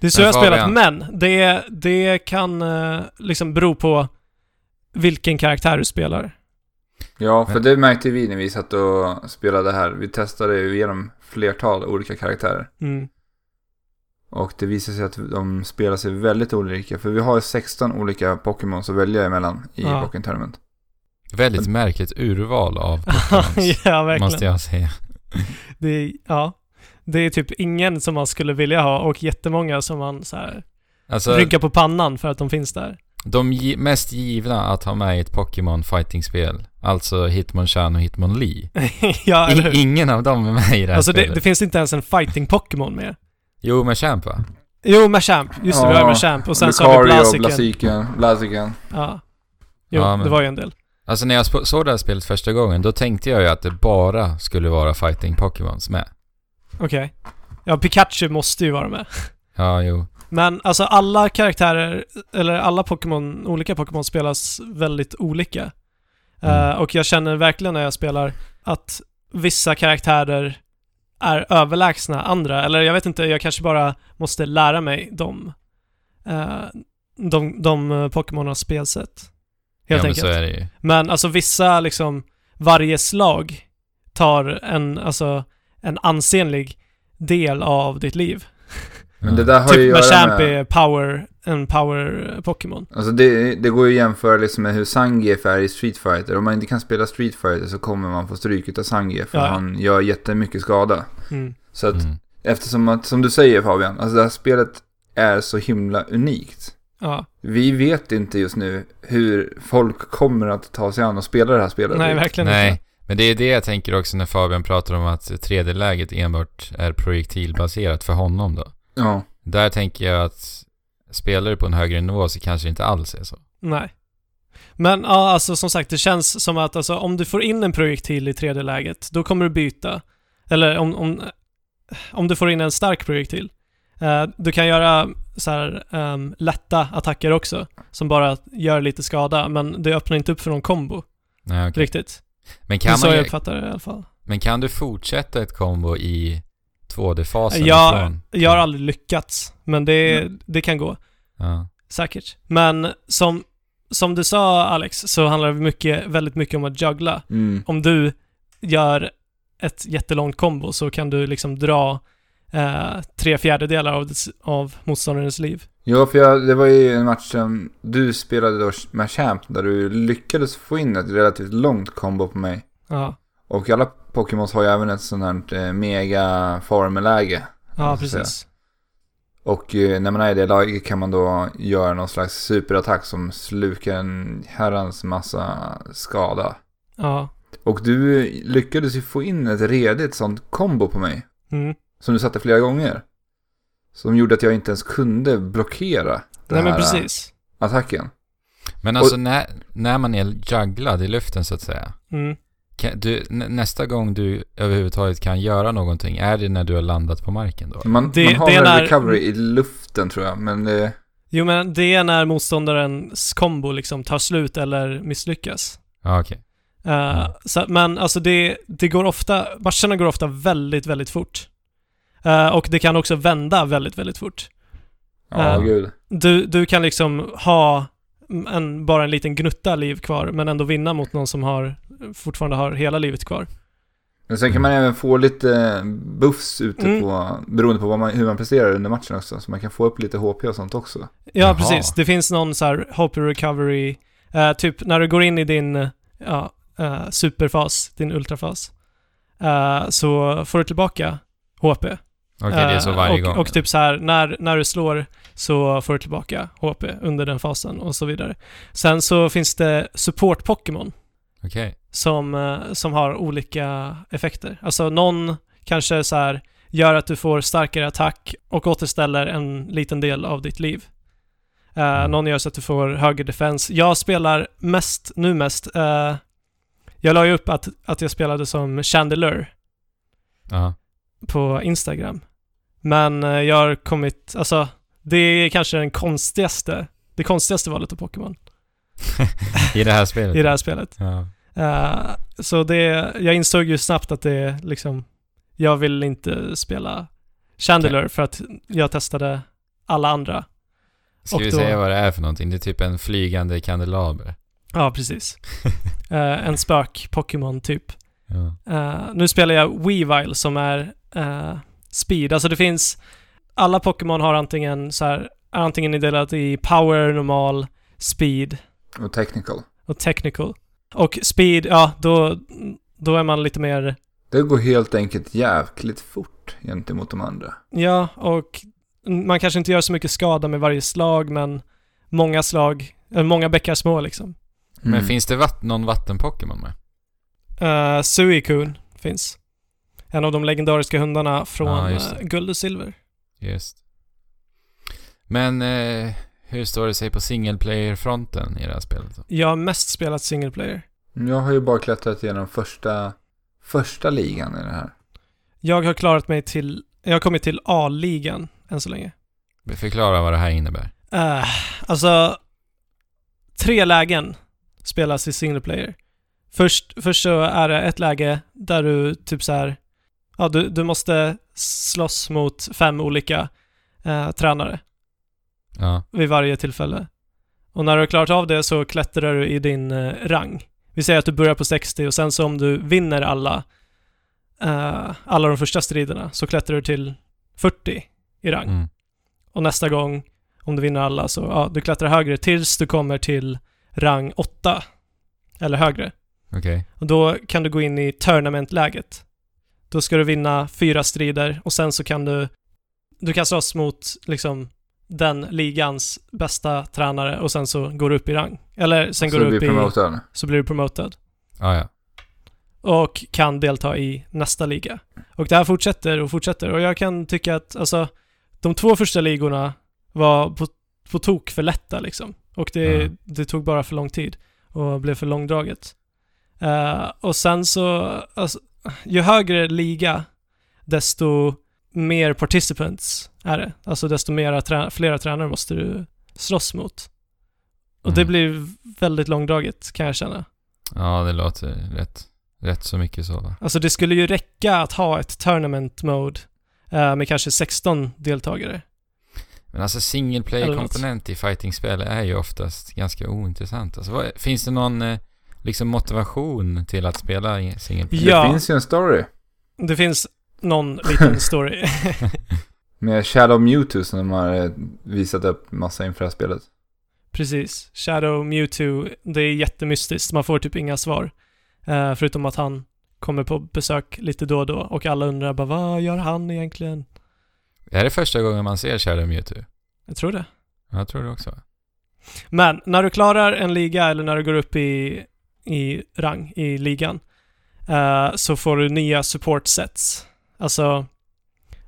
[SPEAKER 3] Det är så
[SPEAKER 1] Men
[SPEAKER 3] jag har spelat,
[SPEAKER 1] Fabian-
[SPEAKER 3] men det, det kan eh, liksom bero på vilken karaktär du spelar.
[SPEAKER 2] Ja, för
[SPEAKER 1] Men-
[SPEAKER 2] det märkte vi när vi satt och spelade här. Vi testade ju igenom flertal olika karaktärer.
[SPEAKER 3] Mm.
[SPEAKER 2] Och det visade sig att de spelar sig väldigt olika. För vi har ju 16 olika Pokémons att välja emellan i
[SPEAKER 3] Ja.
[SPEAKER 2] Pokémon Tournament.
[SPEAKER 1] Väldigt märkligt urval
[SPEAKER 3] *laughs*
[SPEAKER 1] av Pokémons,
[SPEAKER 3] ja, verkligen.
[SPEAKER 1] måste jag säga.
[SPEAKER 3] Det är, ja. Det är typ ingen som man skulle vilja ha och jättemånga som man så här
[SPEAKER 1] Alltså,
[SPEAKER 3] rynkar på pannan för att de finns där. *laughs*
[SPEAKER 1] de gi- mest givna att ha med i ett Pokémon fighting-spel, alltså Hitmonchan och Hitmonlee.
[SPEAKER 3] ja, eller hur?
[SPEAKER 1] I, ingen av dem är med i det här
[SPEAKER 3] Alltså det,
[SPEAKER 1] spelet.
[SPEAKER 3] det finns inte ens en fighting Pokémon med.
[SPEAKER 1] Jo, men Champ va?
[SPEAKER 3] Jo, Machamp. Just det, vi har
[SPEAKER 2] Ja,
[SPEAKER 3] Machamp. Och sen så har vi
[SPEAKER 2] Lucario,
[SPEAKER 3] Blaziken.
[SPEAKER 2] Blaziken, Blaziken.
[SPEAKER 3] Ja. Jo,
[SPEAKER 1] Ja, men-
[SPEAKER 3] det var ju en del.
[SPEAKER 1] Alltså när jag sp- såg det här spelet första gången, då tänkte jag ju att det bara skulle vara fighting Pokémons med.
[SPEAKER 3] Okej. Ja, Pikachu måste ju vara med.
[SPEAKER 1] Ja, jo.
[SPEAKER 3] Men alltså alla karaktärer, eller alla Pokémon, olika Pokémon spelas väldigt olika.
[SPEAKER 1] Mm.
[SPEAKER 3] Eh, och jag känner verkligen när jag spelar att vissa karaktärer är överlägsna andra. Eller jag vet inte, jag kanske bara måste lära mig dem. eh, de, de eh, Pokémonas spelsätt. Helt
[SPEAKER 1] ja,
[SPEAKER 3] enkelt.
[SPEAKER 1] men så är det ju.
[SPEAKER 3] Men alltså vissa liksom, varje slag tar en, alltså, en ansenlig del av ditt liv. *laughs*
[SPEAKER 2] Men
[SPEAKER 1] Mm.
[SPEAKER 2] det där har ju
[SPEAKER 3] typ
[SPEAKER 2] att göra
[SPEAKER 3] Machamp
[SPEAKER 2] med...
[SPEAKER 3] är power, en power eh, Pokémon.
[SPEAKER 2] Alltså det, det går ju att jämföra liksom med hur Zangief är i Street Fighter. Om man inte kan spela Street Fighter så kommer man få stryk av Zangief för
[SPEAKER 3] Ja.
[SPEAKER 2] han gör jättemycket skada.
[SPEAKER 3] Mm.
[SPEAKER 2] Så att
[SPEAKER 1] Mm.
[SPEAKER 2] eftersom att, som du säger Fabian, alltså det här spelet är så himla unikt.
[SPEAKER 3] Ja,
[SPEAKER 2] Vi vet inte just nu hur folk kommer att ta sig an och spela det här spelet.
[SPEAKER 3] nej verkligen
[SPEAKER 1] Nej,
[SPEAKER 3] inte.
[SPEAKER 1] men det är det jag tänker också när Fabian pratar om att 3D-läget enbart är projektilbaserat för honom då.
[SPEAKER 2] Ja.
[SPEAKER 1] Där tänker jag att spelar du på en högre nivå så kanske det inte alls är så.
[SPEAKER 3] Nej. Men ja, alltså som sagt, det känns som att alltså, om du får in en projektil i 3D-läget, då kommer du byta. Eller om, om, om du får in en stark projektil. Eh, du kan göra så här, ehm, lätta attacker också, som bara gör lite skada, men det öppnar inte upp för någon kombo.
[SPEAKER 1] Nej, okej.
[SPEAKER 3] Riktigt.
[SPEAKER 1] men,
[SPEAKER 3] Det är
[SPEAKER 1] kan
[SPEAKER 3] så
[SPEAKER 1] man,
[SPEAKER 3] jag
[SPEAKER 1] ju-
[SPEAKER 3] uppfattar det i alla fall.
[SPEAKER 1] men kan du fortsätta ett kombo i 2D-fasen?
[SPEAKER 3] Eh, Jag,
[SPEAKER 1] ifrån?
[SPEAKER 3] jag har aldrig lyckats, men det,
[SPEAKER 1] Mm.
[SPEAKER 3] det kan gå.
[SPEAKER 1] Ja.
[SPEAKER 3] Säkert. Men som, som du sa Alex, så handlar det mycket, väldigt mycket om att juggla.
[SPEAKER 2] Mm.
[SPEAKER 3] Om du gör ett jättelångt kombo så kan du liksom dra eh, tre fjärdedelar av, dess- av motståndarens liv.
[SPEAKER 2] Ja, för jag, det var ju en match som du spelade då med Champ där du lyckades få in ett relativt långt combo på mig.
[SPEAKER 3] Ja,
[SPEAKER 2] Och alla Pokémons har ju även ett sånt här eh, mega farmeläge.
[SPEAKER 3] ja
[SPEAKER 2] Jag ska
[SPEAKER 3] precis.
[SPEAKER 2] Och eh, när man är i det laget kan man då göra någon slags superattack som slukar en herrans massa skada.
[SPEAKER 3] Ja.
[SPEAKER 2] Och du lyckades ju få in ett redigt sånt combo på mig.
[SPEAKER 3] Mm.
[SPEAKER 2] Som du satte flera gånger. Som gjorde att jag inte ens kunde blockera
[SPEAKER 3] Nej
[SPEAKER 2] den
[SPEAKER 3] men
[SPEAKER 2] här eh,
[SPEAKER 3] precis.
[SPEAKER 2] attacken.
[SPEAKER 1] Men alltså när, när man är jugglad i luften så att säga.
[SPEAKER 3] Mm.
[SPEAKER 1] Kan, du, nä- nästa gång du överhuvudtaget kan göra någonting, är det när du har landat på marken då?
[SPEAKER 2] Man,
[SPEAKER 3] Det-
[SPEAKER 2] man har
[SPEAKER 3] det är
[SPEAKER 2] väl
[SPEAKER 3] när-
[SPEAKER 2] recovery i luften tror jag, men det...
[SPEAKER 3] Jo men det är när motståndarens kombo liksom tar slut eller misslyckas.
[SPEAKER 1] Ja, okej.
[SPEAKER 3] Eh,
[SPEAKER 1] Mm.
[SPEAKER 3] så, men alltså det, det går ofta, matcherna går ofta väldigt, väldigt fort. Eh, och det kan också vända väldigt, väldigt fort.
[SPEAKER 2] Ja,
[SPEAKER 1] Äh.
[SPEAKER 2] gud.
[SPEAKER 3] Du, du kan liksom ha en, bara en liten gnutta liv kvar, men ändå vinna mot någon som har, fortfarande har hela livet kvar.
[SPEAKER 2] Men sen kan man även få lite eh, buffs ute
[SPEAKER 3] Mm.
[SPEAKER 2] på, beroende på vad man, hur man presterar under matchen också. Så man kan få upp lite HP och sånt också.
[SPEAKER 3] Ja,
[SPEAKER 1] Jaha.
[SPEAKER 3] precis. Det finns någon så här Hope Recovery, eh, typ när du går in i din, ja, eh, superfas, din ultrafas, eh, så får du tillbaka HP.
[SPEAKER 1] Okej, det är så
[SPEAKER 3] Eh,
[SPEAKER 1] varje
[SPEAKER 3] och,
[SPEAKER 1] gång.
[SPEAKER 3] Och typ så här, när, när du slår så får du tillbaka HP under den fasen och så vidare. Sen så finns det support-Pokémon
[SPEAKER 1] Okej.
[SPEAKER 3] som, eh, som har olika effekter. Alltså någon kanske så här gör att du får starkare attack och återställer en liten del av ditt liv. Eh,
[SPEAKER 1] Mm.
[SPEAKER 3] Någon gör så att du får högre defens. Jag spelar mest, nu mest, eh, jag la ju upp att, att jag spelade som Chandelure
[SPEAKER 1] Ja.
[SPEAKER 3] på Instagram. Men eh, jag har kommit, alltså det är kanske den konstigaste, det konstigaste valet av Pokémon
[SPEAKER 1] I det här spelet?
[SPEAKER 3] i det här spelet.
[SPEAKER 1] Ja.
[SPEAKER 3] Eh, så det, jag insåg ju snabbt att det liksom, jag vill inte spela Chandelure för att jag testade alla andra.
[SPEAKER 1] Ska
[SPEAKER 3] Och
[SPEAKER 1] vi
[SPEAKER 3] då-
[SPEAKER 1] säga vad det är för någonting? Det är typ en flygande kandelaber.
[SPEAKER 3] Ja, precis. Eh, en spök-Pokémon typ.
[SPEAKER 1] *laughs* Ja.
[SPEAKER 3] Eh, nu spelar jag Weavile som är eh, speed. Alltså det finns, alla Pokémon har antingen så här, är antingen indelat i power, normal, speed
[SPEAKER 2] Och technical.
[SPEAKER 3] och technical. Och speed, ja då, då är man lite mer,
[SPEAKER 2] Det går helt enkelt jävligt fort gentemot de andra.
[SPEAKER 3] ja och man kanske inte gör så mycket skada med varje slag men många slag, eller många bäckar små liksom.
[SPEAKER 1] Men
[SPEAKER 2] Mm.
[SPEAKER 1] finns det vatt- någon vatten-Pokémon med?
[SPEAKER 3] Uh, Suicune finns. En av de legendariska hundarna från
[SPEAKER 1] Ja, just
[SPEAKER 3] eh,
[SPEAKER 1] det.
[SPEAKER 3] Guld och Silver.
[SPEAKER 1] Just. Men eh, hur står det sig på single player-fronten i det här spelet? Då?
[SPEAKER 3] Jag har mest spelat single player.
[SPEAKER 2] Jag har ju bara klättrat igenom första, första ligan i det här.
[SPEAKER 3] Jag har klarat mig till, jag har kommit till A-ligan än så länge.
[SPEAKER 1] Förklara vad det här innebär.
[SPEAKER 3] Uh, alltså, tre lägen spelas i single player. Först, först så är det ett läge där du typ så här, ja du, du måste slåss mot fem olika eh, tränare
[SPEAKER 1] Ja.
[SPEAKER 3] vid varje tillfälle. Och när du har klarat av det så klättrar du i din eh, rang. Vi säger att du börjar på 60 och sen så om du vinner alla, eh, alla de första striderna så klättrar du till 40 i rang.
[SPEAKER 1] Mm.
[SPEAKER 3] Och nästa gång, om du vinner alla, så ja, du klättrar högre tills du kommer till rang 8. Eller högre.
[SPEAKER 1] Okej.
[SPEAKER 3] Och då kan du gå in i tournamentläget. Då ska du vinna fyra strider och sen så kan du, du kan slåss mot liksom den ligans bästa tränare och sen så går du upp i rang. Eller sen
[SPEAKER 2] så
[SPEAKER 3] går
[SPEAKER 2] blir
[SPEAKER 3] du upp i,
[SPEAKER 2] promotad.
[SPEAKER 3] så blir du promotad.
[SPEAKER 1] Ah, ja.
[SPEAKER 3] Och kan delta i nästa liga. Och det här fortsätter och fortsätter och jag kan tycka att alltså de två första ligorna var på, på tok för lätta liksom. Och det,
[SPEAKER 1] Mm.
[SPEAKER 3] det tog bara för lång tid och blev för långdraget. Eh, och sen så, alltså, ju högre liga, desto mer participants är det. Alltså desto mera trä- flera tränare måste du slåss mot. Och det
[SPEAKER 1] Mm.
[SPEAKER 3] blir väldigt långdraget kan jag känna.
[SPEAKER 1] ja, det låter rätt, rätt så mycket så va?
[SPEAKER 3] Alltså det skulle ju räcka att ha ett tournament mode eh, med kanske 16 deltagare.
[SPEAKER 1] Men alltså single player-komponent i fighting-spel är ju oftast ganska ointressant. Alltså, vad, finns det någon eh, liksom motivation till att spela i single
[SPEAKER 3] *laughs*
[SPEAKER 1] player?
[SPEAKER 3] Ja.
[SPEAKER 2] Det finns ju en story.
[SPEAKER 3] Det finns någon liten story. *laughs*
[SPEAKER 2] Med Shadow Mewtwo som de har eh, visat upp massa inför det här spelet.
[SPEAKER 3] Precis. Shadow Mewtwo, det är jättemystiskt. Man får typ inga svar. Eh, förutom att han kommer på besök lite då och då och alla undrar bara vad gör han egentligen?
[SPEAKER 1] Det här är första gången man ser Shadow Mewtwo.
[SPEAKER 3] Jag tror det.
[SPEAKER 1] Jag tror det också.
[SPEAKER 3] Men när du klarar en liga eller när du går upp i, i rang i ligan eh, så får du nya support sets. Alltså,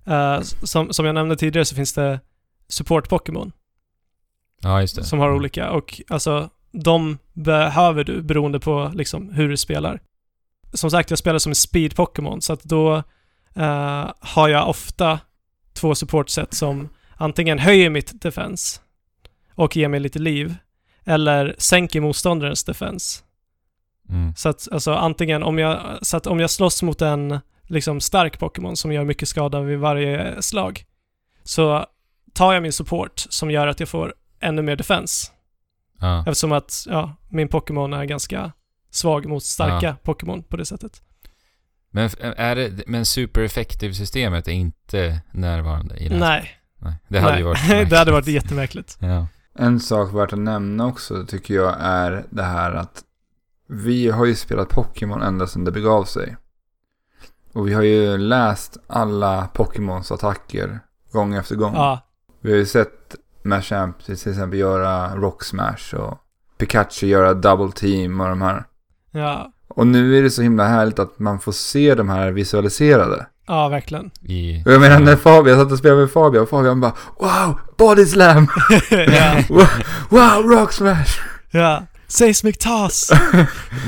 [SPEAKER 3] eh, som, som jag nämnde tidigare så finns det support Pokémon.
[SPEAKER 1] Ja, just det.
[SPEAKER 3] som har olika och alltså de behöver du beroende på liksom hur du spelar. Som sagt, jag spelar som en speed Pokémon så att då eh, har jag ofta två supportset som antingen höjer mitt defens och ger mig lite liv eller sänker motståndarens defens.
[SPEAKER 1] Mm.
[SPEAKER 3] Så att alltså antingen om jag, så att om jag slåss mot en liksom stark Pokémon som gör mycket skada vid varje slag så tar jag min support som gör att jag får ännu mer defens.
[SPEAKER 1] Ja.
[SPEAKER 3] Eftersom att ja, min Pokémon är ganska svag mot starka
[SPEAKER 1] Ja.
[SPEAKER 3] Pokémon på det sättet.
[SPEAKER 1] Men, f- är det, men super-effective-systemet är inte närvarande i det här
[SPEAKER 3] Nej.
[SPEAKER 1] Nej, det hade
[SPEAKER 3] nej.
[SPEAKER 1] ju varit
[SPEAKER 3] *laughs* det hade varit
[SPEAKER 1] märkligt.
[SPEAKER 3] jättemärkligt.
[SPEAKER 1] Ja.
[SPEAKER 2] En sak värt att nämna också tycker jag är det här att Vi har ju spelat Pokémon ända sedan det begav sig. Och vi har ju läst alla Pokémons attacker gång efter gång.
[SPEAKER 3] Ja,
[SPEAKER 2] Vi har ju sett Machamp till exempel göra Rock Smash och Pikachu göra Double Team och de här.
[SPEAKER 3] ja,
[SPEAKER 2] Och nu är det så himla härligt att man får se de här visualiserade.
[SPEAKER 3] ja *laughs* verkligen.
[SPEAKER 1] I...
[SPEAKER 2] Och jag menar när Fabian, jag satt och spelade med Fabian och Fabian bara Wow! Body Slam! *laughs*
[SPEAKER 3] ja,
[SPEAKER 2] Wow! Rock Smash!
[SPEAKER 3] ja. Seismic Toss!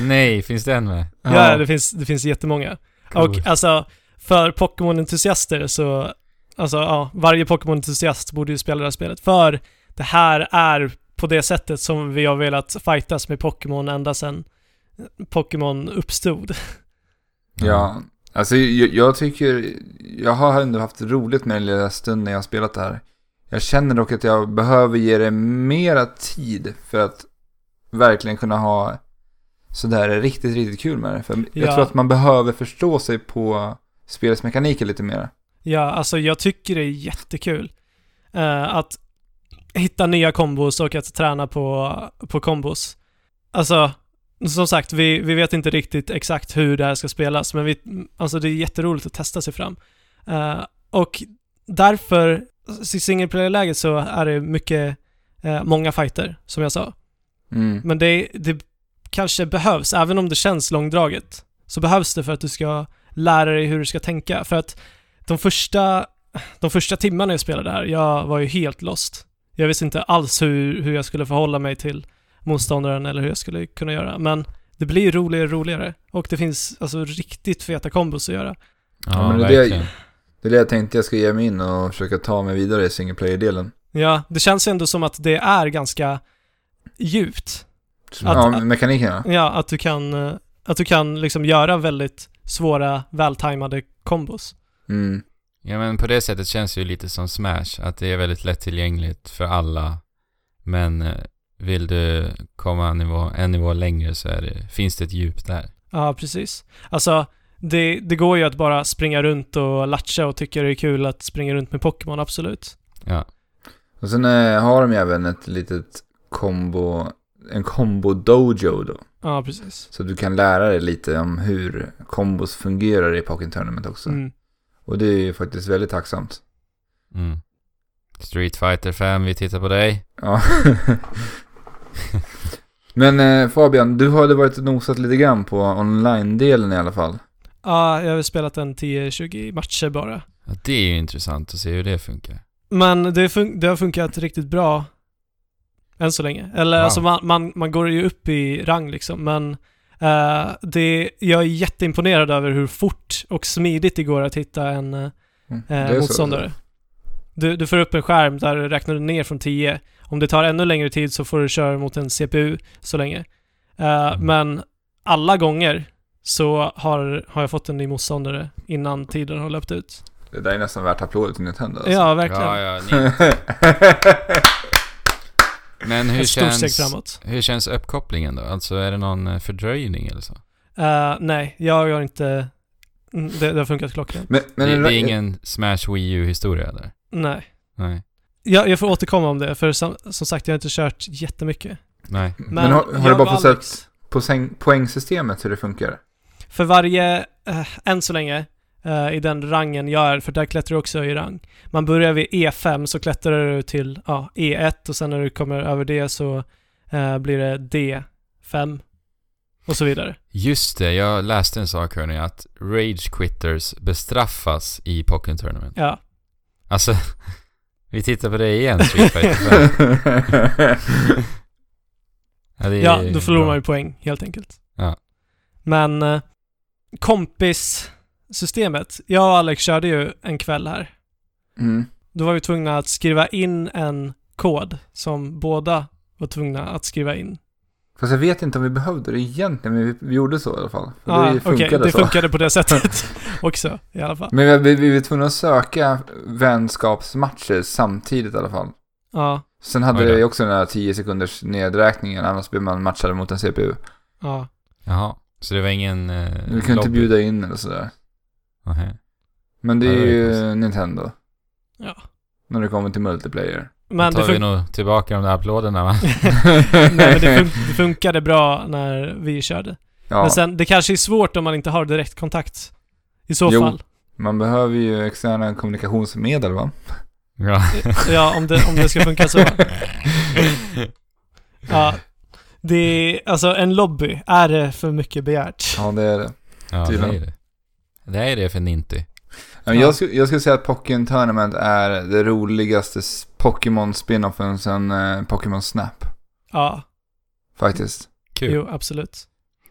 [SPEAKER 1] Nej, finns den med?
[SPEAKER 3] Ja, det finns, det finns jättemånga.
[SPEAKER 1] Cool.
[SPEAKER 3] Och alltså, för Pokémon-entusiaster så, alltså ja, varje Pokémon-entusiast borde ju spela det här spelet. För det här är på det sättet som vi har velat fightas med Pokémon ända sedan Pokémon uppstod.
[SPEAKER 2] Ja, alltså jag, jag tycker, jag har ändå haft roligt med den lilla stunden jag har spelat det här. Jag känner dock att jag behöver ge det mera tid för att verkligen kunna ha sådär riktigt, riktigt kul med det. För jag
[SPEAKER 3] Ja.
[SPEAKER 2] tror att man behöver förstå sig på spelets mekaniker lite mer.
[SPEAKER 3] Ja, alltså jag tycker det är jättekul. eh, att hitta nya kombos och att träna på, på kombos. Alltså, som sagt, vi, vi vet inte riktigt exakt hur det här ska spelas, men vi, alltså det är jätteroligt att testa sig fram. Eh, och därför, i single player-läget så är det mycket, eh, många fighter, som jag sa.
[SPEAKER 2] Mm.
[SPEAKER 3] Men det, det kanske behövs, även om det känns långdraget, så behövs det för att du ska lära dig hur du ska tänka. För att de första, de första timmarna jag spelade här, jag var ju helt lost. Jag visste inte alls hur, hur jag skulle förhålla mig till motståndaren eller hur jag skulle kunna göra. Men det blir ju roligare och roligare. Och det finns alltså riktigt feta kombos att göra.
[SPEAKER 1] Ja,
[SPEAKER 2] men det är det-
[SPEAKER 1] verkligen.
[SPEAKER 2] Det är det jag tänkte jag ska ge mig in och försöka ta mig vidare i single player-delen.
[SPEAKER 3] Ja, det känns ju ändå som att det är ganska djupt.
[SPEAKER 2] Ja, mekanikerna.
[SPEAKER 3] Ja, att du kan, eh, att du kan liksom göra väldigt svåra, vältajmade kombos.
[SPEAKER 2] Mm.
[SPEAKER 1] Ja men på det sättet känns det ju lite som Smash, att det är väldigt lättillgängligt för alla. Men eh, vill du komma en nivå, en nivå längre så är det, finns det ett djup där.
[SPEAKER 3] Ja, precis. Alltså, det, det går ju att bara springa runt och latcha och tycka det är kul att springa runt med Pokémon, absolut.
[SPEAKER 2] Och sen eh, har de ju även ett litet kombo, en kombo dojo då.
[SPEAKER 3] Ja, precis.
[SPEAKER 2] Så du kan lära dig lite om hur kombos fungerar i Pokémon Tournament också.
[SPEAKER 3] Mm.
[SPEAKER 2] Och det är ju faktiskt väldigt tacksamt.
[SPEAKER 1] Mm. Street Fighter 5, vi tittar på dig.
[SPEAKER 2] Ja. *laughs* Men eh, Fabian, du hade varit och nosat lite grann på online-delen i alla fall.
[SPEAKER 3] Ja, jag har spelat en 10-20 matcher bara.
[SPEAKER 1] Ja, det är ju intressant att se hur det funkar.
[SPEAKER 3] Men det, fun- det har funkat riktigt bra än så länge. Eller
[SPEAKER 1] Wow.
[SPEAKER 3] alltså man, man, man går ju upp i rang liksom, men eh, det, jag är jätteimponerad över hur fort och smidigt det går att hitta en eh,
[SPEAKER 2] Mm, det är
[SPEAKER 3] eh,
[SPEAKER 2] så.
[SPEAKER 3] motståndare. Du, du får upp en skärm där du räknar ner från 10. Om det tar ännu längre tid så får du köra mot en CPU så länge. Eh,
[SPEAKER 1] Mm.
[SPEAKER 3] Men alla gånger så har, har jag fått en ny motståndare innan tiden har löpt ut.
[SPEAKER 2] Det där är nästan värt applåder till Nintendo. alltså.
[SPEAKER 3] Ja, verkligen.
[SPEAKER 1] Ja, ja, ni, *laughs* men hur
[SPEAKER 3] Ett stort steg
[SPEAKER 1] känns,
[SPEAKER 3] framåt.
[SPEAKER 1] hur känns uppkopplingen då? Alltså är det någon eh, fördröjning eller så?
[SPEAKER 3] Eh, nej, jag har inte... Mm, Det, det har funkat klockrent.
[SPEAKER 2] *laughs* men, men
[SPEAKER 1] det, det är ingen Smash Wii U-historia där?
[SPEAKER 3] Nej.
[SPEAKER 1] Nej.
[SPEAKER 3] Jag, jag får återkomma om det, för som, som sagt, jag har inte kört jättemycket.
[SPEAKER 1] Nej.
[SPEAKER 2] men,
[SPEAKER 3] Men
[SPEAKER 2] har, har du
[SPEAKER 3] jag
[SPEAKER 2] bara
[SPEAKER 3] och
[SPEAKER 2] fått sett
[SPEAKER 3] Alex-
[SPEAKER 2] poäng, poängsystemet hur det funkar?
[SPEAKER 3] För varje, eh, än så länge, eh, i den rangen jag är, för där klättrar du också i rang. Man börjar vid E5, så klättrar du till ja, E1 och sen när du kommer över det så eh, blir det D5 och så vidare.
[SPEAKER 1] Just det, jag läste en sak hörni, att Rage Quitters bestraffas i Pokémon Tournament.
[SPEAKER 3] Ja,
[SPEAKER 1] Alltså, *laughs* vi tittar på det igen, Street Fighter 5. ja, det är
[SPEAKER 3] ja då förlorar
[SPEAKER 1] bra.
[SPEAKER 3] man ju poäng helt enkelt.
[SPEAKER 1] Ja.
[SPEAKER 3] Men eh, kompissystemet, jag och Alex körde ju en kväll här.
[SPEAKER 2] mm.
[SPEAKER 3] Då var vi tvungna att skriva in en kod som båda var tvungna att skriva in.
[SPEAKER 2] Fast jag vet inte om vi behövde det egentligen, men vi, vi gjorde så i alla fall. För
[SPEAKER 3] Ah,
[SPEAKER 2] det
[SPEAKER 3] Okej,
[SPEAKER 2] funkade
[SPEAKER 3] det
[SPEAKER 2] så.
[SPEAKER 3] funkade på det sättet *laughs* också i alla fall.
[SPEAKER 2] Men vi, vi, vi var tvungna att söka vänskapsmatcher samtidigt i alla fall.
[SPEAKER 3] Ja,
[SPEAKER 2] Sen
[SPEAKER 1] Oj
[SPEAKER 2] hade
[SPEAKER 1] då.
[SPEAKER 2] vi också den här 10 sekunders nedräkningen, annars blir man matchad mot en CPU.
[SPEAKER 3] ja.
[SPEAKER 1] Jaha, så det var ingen... Eh,
[SPEAKER 2] Vi kunde inte
[SPEAKER 1] lobby?
[SPEAKER 2] bjuda in eller sådär.
[SPEAKER 1] Nähä.
[SPEAKER 2] Men det
[SPEAKER 1] Ja,
[SPEAKER 2] är
[SPEAKER 1] det är
[SPEAKER 2] ju
[SPEAKER 1] konstigt.
[SPEAKER 2] Nintendo.
[SPEAKER 3] Ja.
[SPEAKER 2] När det kommer till multiplayer.
[SPEAKER 1] Då
[SPEAKER 3] Men det,
[SPEAKER 1] tar vi
[SPEAKER 3] fun-
[SPEAKER 1] nog tillbaka de där applåderna va?
[SPEAKER 2] Nej,
[SPEAKER 3] *laughs* nej, men *laughs* det, fun- det funkade bra när vi körde.
[SPEAKER 2] ja,
[SPEAKER 3] Men sen, det kanske är svårt om man inte har direktkontakt. I så
[SPEAKER 2] Jo.
[SPEAKER 3] fall.
[SPEAKER 2] Man behöver ju externa kommunikationsmedel va?
[SPEAKER 1] *laughs* Ja.
[SPEAKER 3] Ja, om det, om det ska
[SPEAKER 1] *laughs*
[SPEAKER 3] funka
[SPEAKER 2] *laughs*
[SPEAKER 3] så. Ja. Det är, alltså en lobby, är det för mycket begärt?
[SPEAKER 2] Ja, det är det.
[SPEAKER 1] ja, det
[SPEAKER 2] Tydligen.
[SPEAKER 1] är det. Det är det för Ninty.
[SPEAKER 2] Ja, men Jag, skulle, jag skulle säga att Pokémon Tournament är det roligaste s- Pokémon-spinoffen sen eh, Pokémon Snap.
[SPEAKER 3] Ja,
[SPEAKER 2] Faktiskt.
[SPEAKER 1] Kul.
[SPEAKER 3] jo absolut.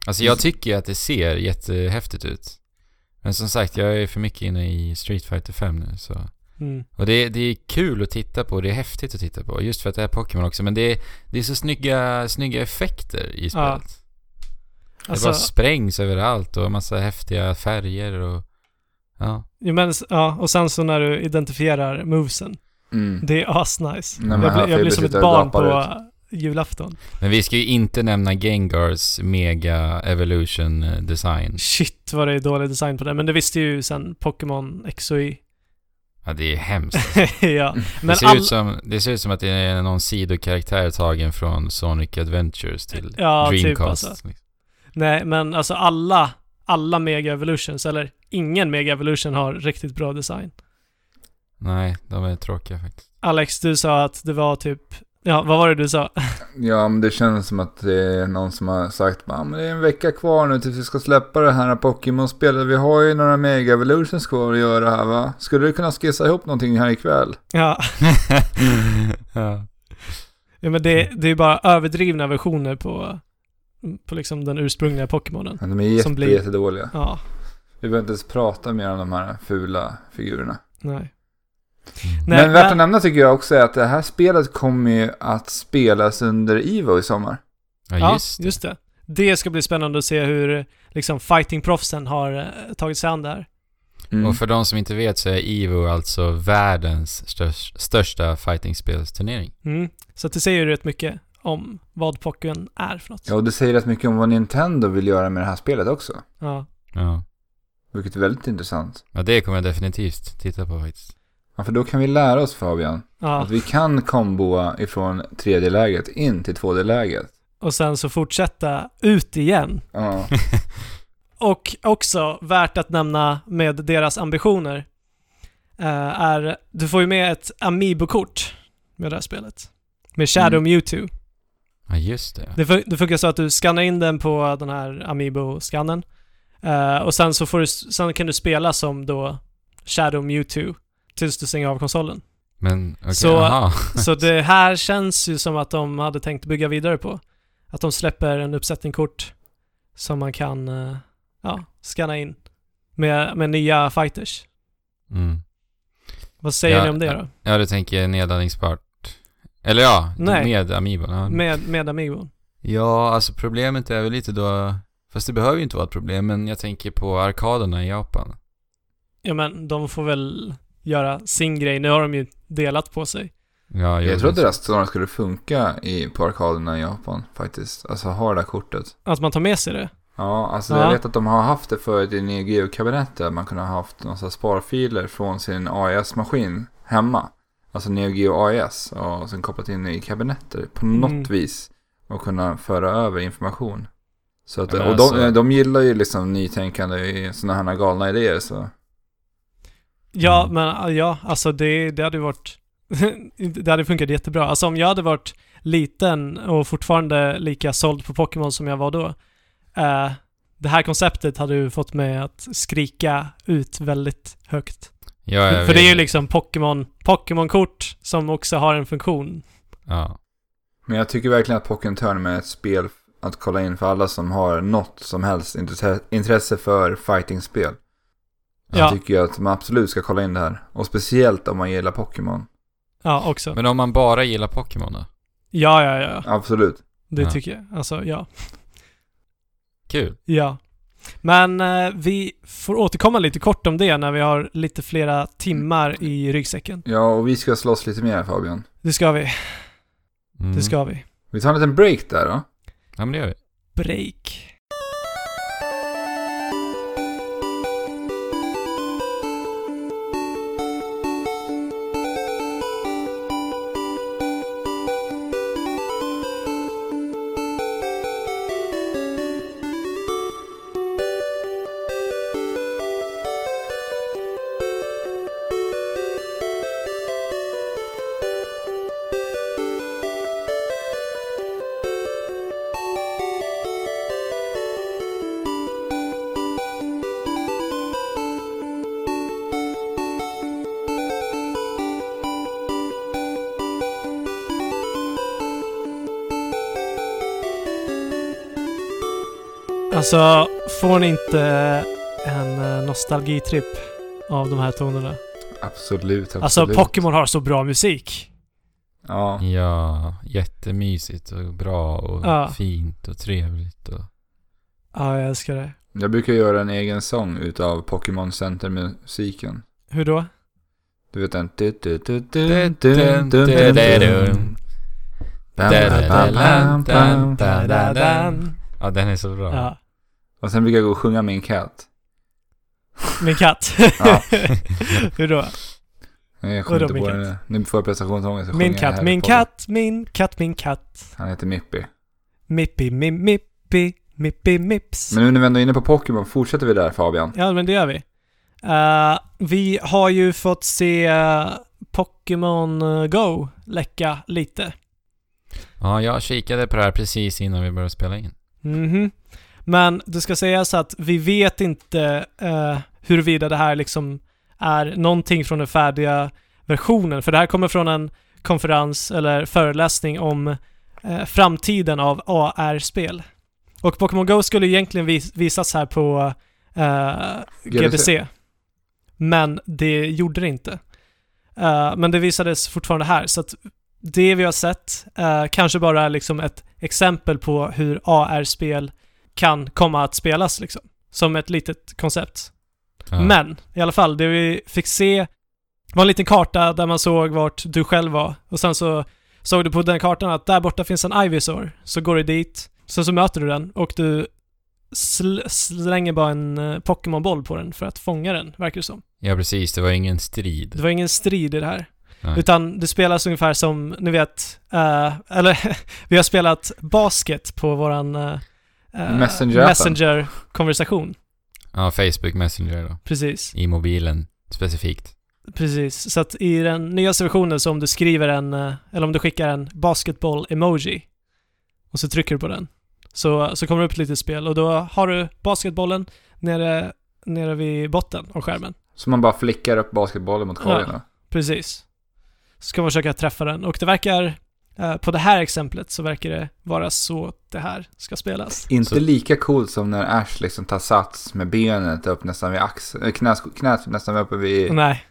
[SPEAKER 1] Alltså jag tycker ju att det ser jättehäftigt ut. Men som sagt, jag är för mycket inne i Street Fighter 5 nu så.
[SPEAKER 3] Mm.
[SPEAKER 1] Och det, det är kul att titta på, det är häftigt att titta på. Just för att det är Pokémon också. Men det är, det är så snygga, snygga effekter i
[SPEAKER 3] Ja.
[SPEAKER 1] spelet. det
[SPEAKER 3] Alltså,
[SPEAKER 1] bara sprängs överallt och massa häftiga färger och... Ja.
[SPEAKER 3] jo, men, ja, och sen så när du identifierar movesen.
[SPEAKER 2] Mm.
[SPEAKER 3] Det är asnice.
[SPEAKER 2] Nej, men
[SPEAKER 3] jag,
[SPEAKER 2] här
[SPEAKER 3] blir jag blir
[SPEAKER 2] Fibber
[SPEAKER 3] som ett
[SPEAKER 2] sitter och
[SPEAKER 3] barn
[SPEAKER 2] gapar
[SPEAKER 3] på julafton.
[SPEAKER 1] Men vi ska ju inte nämna Gengars Mega Evolution eh, Design.
[SPEAKER 3] Shit vad det är dålig design på den. Men det visste ju sen Pokémon X och Y. *laughs*
[SPEAKER 1] Ja, det är hemskt.
[SPEAKER 3] ja. *laughs* Men
[SPEAKER 1] Mm. det, ser
[SPEAKER 3] all...
[SPEAKER 1] ut som, det ser ut som att det är någon sidokaraktär tagen från Sonic Adventures till
[SPEAKER 3] Ja, typ
[SPEAKER 1] Dreamcast. liksom.
[SPEAKER 3] alltså. Nej, men alltså alla, alla Mega Evolutions, eller ingen Mega Evolution har riktigt bra design.
[SPEAKER 1] Nej, de är tråkiga
[SPEAKER 3] *laughs*
[SPEAKER 1] faktiskt.
[SPEAKER 3] Alex, du sa att det var typ, ja vad var det du sa? *laughs*
[SPEAKER 2] Ja, men det känns som att det är någon som har sagt bara, men det är en vecka kvar nu tills vi ska släppa det här Pokémon-spelet. Vi har ju några Mega Evolutions kvar att göra här va? Skulle du kunna skissa ihop någonting här ikväll?
[SPEAKER 3] Ja,
[SPEAKER 1] ja.
[SPEAKER 3] ja men det, det är ju bara överdrivna versioner på, på liksom den ursprungliga Pokémonen.
[SPEAKER 2] Men de är jätte,
[SPEAKER 3] Som blir-
[SPEAKER 2] jättedåliga.
[SPEAKER 3] Ja,
[SPEAKER 2] Vi behöver inte ens prata mer om de här fula figurerna.
[SPEAKER 3] nej.
[SPEAKER 1] Nej.
[SPEAKER 3] Nej.
[SPEAKER 2] men värt att
[SPEAKER 3] men-
[SPEAKER 2] nämna tycker jag också är att det här spelet kommer ju att spelas under Ivo i sommar.
[SPEAKER 1] Ja, just det.
[SPEAKER 3] just det. Det ska bli spännande att se hur liksom fighting-proffsen har eh, tagit sig an det här.
[SPEAKER 2] Mm.
[SPEAKER 1] Och för de som inte vet så är Ivo alltså världens störst, största fightingspelsturnering.
[SPEAKER 3] Mm. Så att det säger ju rätt mycket om vad Pokémon är för något.
[SPEAKER 2] Ja, och det säger rätt mycket om vad Nintendo vill göra med det här spelet också.
[SPEAKER 3] Ja.
[SPEAKER 1] Ja.
[SPEAKER 2] Vilket är väldigt intressant.
[SPEAKER 1] ja, det kommer jag definitivt titta på faktiskt. *laughs*
[SPEAKER 2] Ja, för då kan vi lära oss Fabian,
[SPEAKER 3] ja.
[SPEAKER 2] att vi kan komboa ifrån 3D-läget in till 2D-läget.
[SPEAKER 3] Och sen så fortsätta ut igen.
[SPEAKER 2] Ja,
[SPEAKER 3] Och också värt att nämna med deras ambitioner eh, är, du får ju med ett Amiibo-kort med det här spelet. Med Shadow
[SPEAKER 2] Mm.
[SPEAKER 3] Mewtwo.
[SPEAKER 1] Ja, just det.
[SPEAKER 3] Det, fun- det funkar så att du skannar in den på den här Amiibo-skannen. Eh, och sen så får du, sen kan du spela som då Shadow Mewtwo tills du stänger av konsolen.
[SPEAKER 1] Men okej,
[SPEAKER 3] Så-
[SPEAKER 1] aha.
[SPEAKER 3] Så det här känns ju som att de hade tänkt bygga vidare på. Att de släpper en uppsättning kort som man kan eh, ja, scanna in med, med nya fighters.
[SPEAKER 1] Mm.
[SPEAKER 3] Vad säger
[SPEAKER 1] Ja,
[SPEAKER 3] ni om det då?
[SPEAKER 1] Ja, du tänker nedladdningsbart. Eller ja,
[SPEAKER 3] Nej.
[SPEAKER 1] med Amiibo. Ja.
[SPEAKER 3] Med, med Amigo?
[SPEAKER 1] Ja, alltså problemet är väl lite då, fast det behöver ju inte vara ett problem, men jag tänker på arkaderna i Japan.
[SPEAKER 3] Ja men de får väl göra sin grej. Nu har de ju delat på sig.
[SPEAKER 1] Ja,
[SPEAKER 2] jag trodde det här snarare skulle funka i, på arkaderna i Japan faktiskt. Alltså ha det där kortet.
[SPEAKER 3] Att man tar med sig det.
[SPEAKER 2] Ja, alltså
[SPEAKER 3] Ja.
[SPEAKER 2] jag vet att de har haft det förut i Neo Geo-kabinettet. Man kunde ha haft några sparfiler från sin AES-maskin hemma. Alltså Neo Geo AES och sen kopplat in i kabinetter på något
[SPEAKER 3] Mm.
[SPEAKER 2] vis. Och kunna föra över information. Så att,
[SPEAKER 1] Ja, men
[SPEAKER 2] och de,
[SPEAKER 1] alltså-
[SPEAKER 2] de gillar ju liksom nytänkande i sådana här galna idéer så.
[SPEAKER 3] Ja
[SPEAKER 1] Mm.
[SPEAKER 3] men ja, alltså det, det hade ju varit *laughs* det hade funkat jättebra. Alltså om jag hade varit liten och fortfarande lika såld på Pokémon som jag var då. Eh, det här konceptet hade ju fått mig att skrika ut väldigt högt.
[SPEAKER 1] Ja, jag
[SPEAKER 3] *laughs* För det är ju
[SPEAKER 1] vet.
[SPEAKER 3] liksom Pokémon, Pokémon-kort som också har en funktion.
[SPEAKER 1] Ja.
[SPEAKER 2] Men jag tycker verkligen att Pokémon Tournament är ett spel att kolla in för alla som har något som helst intresse- intresse för fighting-spel. Jag
[SPEAKER 3] Ja.
[SPEAKER 2] tycker att man absolut ska kolla in det här. Och speciellt om man gillar Pokémon.
[SPEAKER 3] Ja, också.
[SPEAKER 1] Men om man bara gillar Pokémon då?
[SPEAKER 3] ja, ja, ja.
[SPEAKER 2] Absolut.
[SPEAKER 3] Det
[SPEAKER 1] Ja.
[SPEAKER 3] tycker jag. Alltså, ja.
[SPEAKER 1] Kul.
[SPEAKER 3] Ja. Men eh, vi får återkomma lite kort om det när vi har lite flera timmar i ryggsäcken.
[SPEAKER 2] Ja, och vi ska slåss lite mer Fabian.
[SPEAKER 3] Det ska vi.
[SPEAKER 1] Mm.
[SPEAKER 3] Det ska vi.
[SPEAKER 2] Vi tar en liten break där då.
[SPEAKER 1] Ja, men det gör vi.
[SPEAKER 3] break. Alltså, får ni inte en eh, nostalgitripp av de här tonerna?
[SPEAKER 2] Absolut, absolut.
[SPEAKER 3] Alltså, Pokémon har så bra musik.
[SPEAKER 2] Ja.
[SPEAKER 1] Ja, jättemysigt och bra och
[SPEAKER 3] Ja.
[SPEAKER 1] fint och trevligt och...
[SPEAKER 3] Ja, jag älskar det.
[SPEAKER 2] Jag brukar göra en egen sång utav Pokémon Center-musiken.
[SPEAKER 3] Hur då?
[SPEAKER 2] Du vet den...
[SPEAKER 1] Ja, den är så bra.
[SPEAKER 3] Ja.
[SPEAKER 2] Och sen brukar jag gå och sjunga min katt.
[SPEAKER 3] Min katt.
[SPEAKER 2] Ja.
[SPEAKER 3] *laughs* Hur då?
[SPEAKER 2] Nej, Jag kommer
[SPEAKER 3] Vadå,
[SPEAKER 2] inte
[SPEAKER 3] min
[SPEAKER 2] på den nu. Nu får jag prestationsångest. så
[SPEAKER 3] Min
[SPEAKER 2] sjunger jag
[SPEAKER 3] katt,
[SPEAKER 2] Harry
[SPEAKER 3] min
[SPEAKER 2] Potter.
[SPEAKER 3] katt, min katt, min katt.
[SPEAKER 2] Han heter Mippi.
[SPEAKER 3] Mippi, mip, mippi, mippi, mips.
[SPEAKER 2] Men nu när vi ändå är inne på Pokémon, fortsätter vi där Fabian.
[SPEAKER 3] Ja, men det gör vi. Eh, vi har ju fått se eh, Pokémon eh, Go läcka lite.
[SPEAKER 1] Ja, jag kikade på det här precis innan vi började spela in.
[SPEAKER 3] Mhm. Men det ska sägas att vi vet inte eh, huruvida det här liksom är någonting från den färdiga versionen. För det här kommer från en konferens eller föreläsning om eh, framtiden av AR-spel. Och Pokémon Go skulle egentligen vis- visas här på eh, GDC. Men det gjorde det inte. Eh, men det visades fortfarande här, så att det vi har sett eh, kanske bara är liksom ett exempel på hur AR-spel kan komma att spelas liksom. Som ett litet koncept.
[SPEAKER 1] Ja.
[SPEAKER 3] Men i alla fall, det vi fick se var en liten karta där man såg vart du själv var. Och sen så såg du på den kartan att där borta finns en Ivysaur. Så går du dit, sen så möter du den och du sl- slänger bara en eh, Pokémon-boll på den för att fånga den, verkar det som.
[SPEAKER 1] Ja, precis. Det var ingen strid.
[SPEAKER 3] Det var ingen strid i det här.
[SPEAKER 1] Nej.
[SPEAKER 3] Utan det spelas ungefär som, ni vet, eh, eller *laughs* vi har spelat basket på våran eh, eh,
[SPEAKER 2] Messenger-appen.
[SPEAKER 3] Messenger-konversation.
[SPEAKER 1] Ja, Facebook Messenger då.
[SPEAKER 3] Precis.
[SPEAKER 1] I mobilen specifikt.
[SPEAKER 3] Precis, så att i den nyaste versionen så om du skriver en, eh, eller om du skickar en basketboll-emoji och så trycker du på den, så, så kommer det upp ett litet spel och då har du basketbollen nere, nere vid botten av skärmen.
[SPEAKER 2] Så man bara flickar upp basketbollen mot korgen. då.
[SPEAKER 3] Precis. Så ska man försöka träffa den och det verkar, eh, på det här exemplet så verkar det vara så det här ska spelas.
[SPEAKER 2] Inte
[SPEAKER 1] Så-
[SPEAKER 2] lika coolt som när Ash liksom tar sats med benet upp nästan vid axeln, knät, knät nästan uppe vid
[SPEAKER 3] Nej,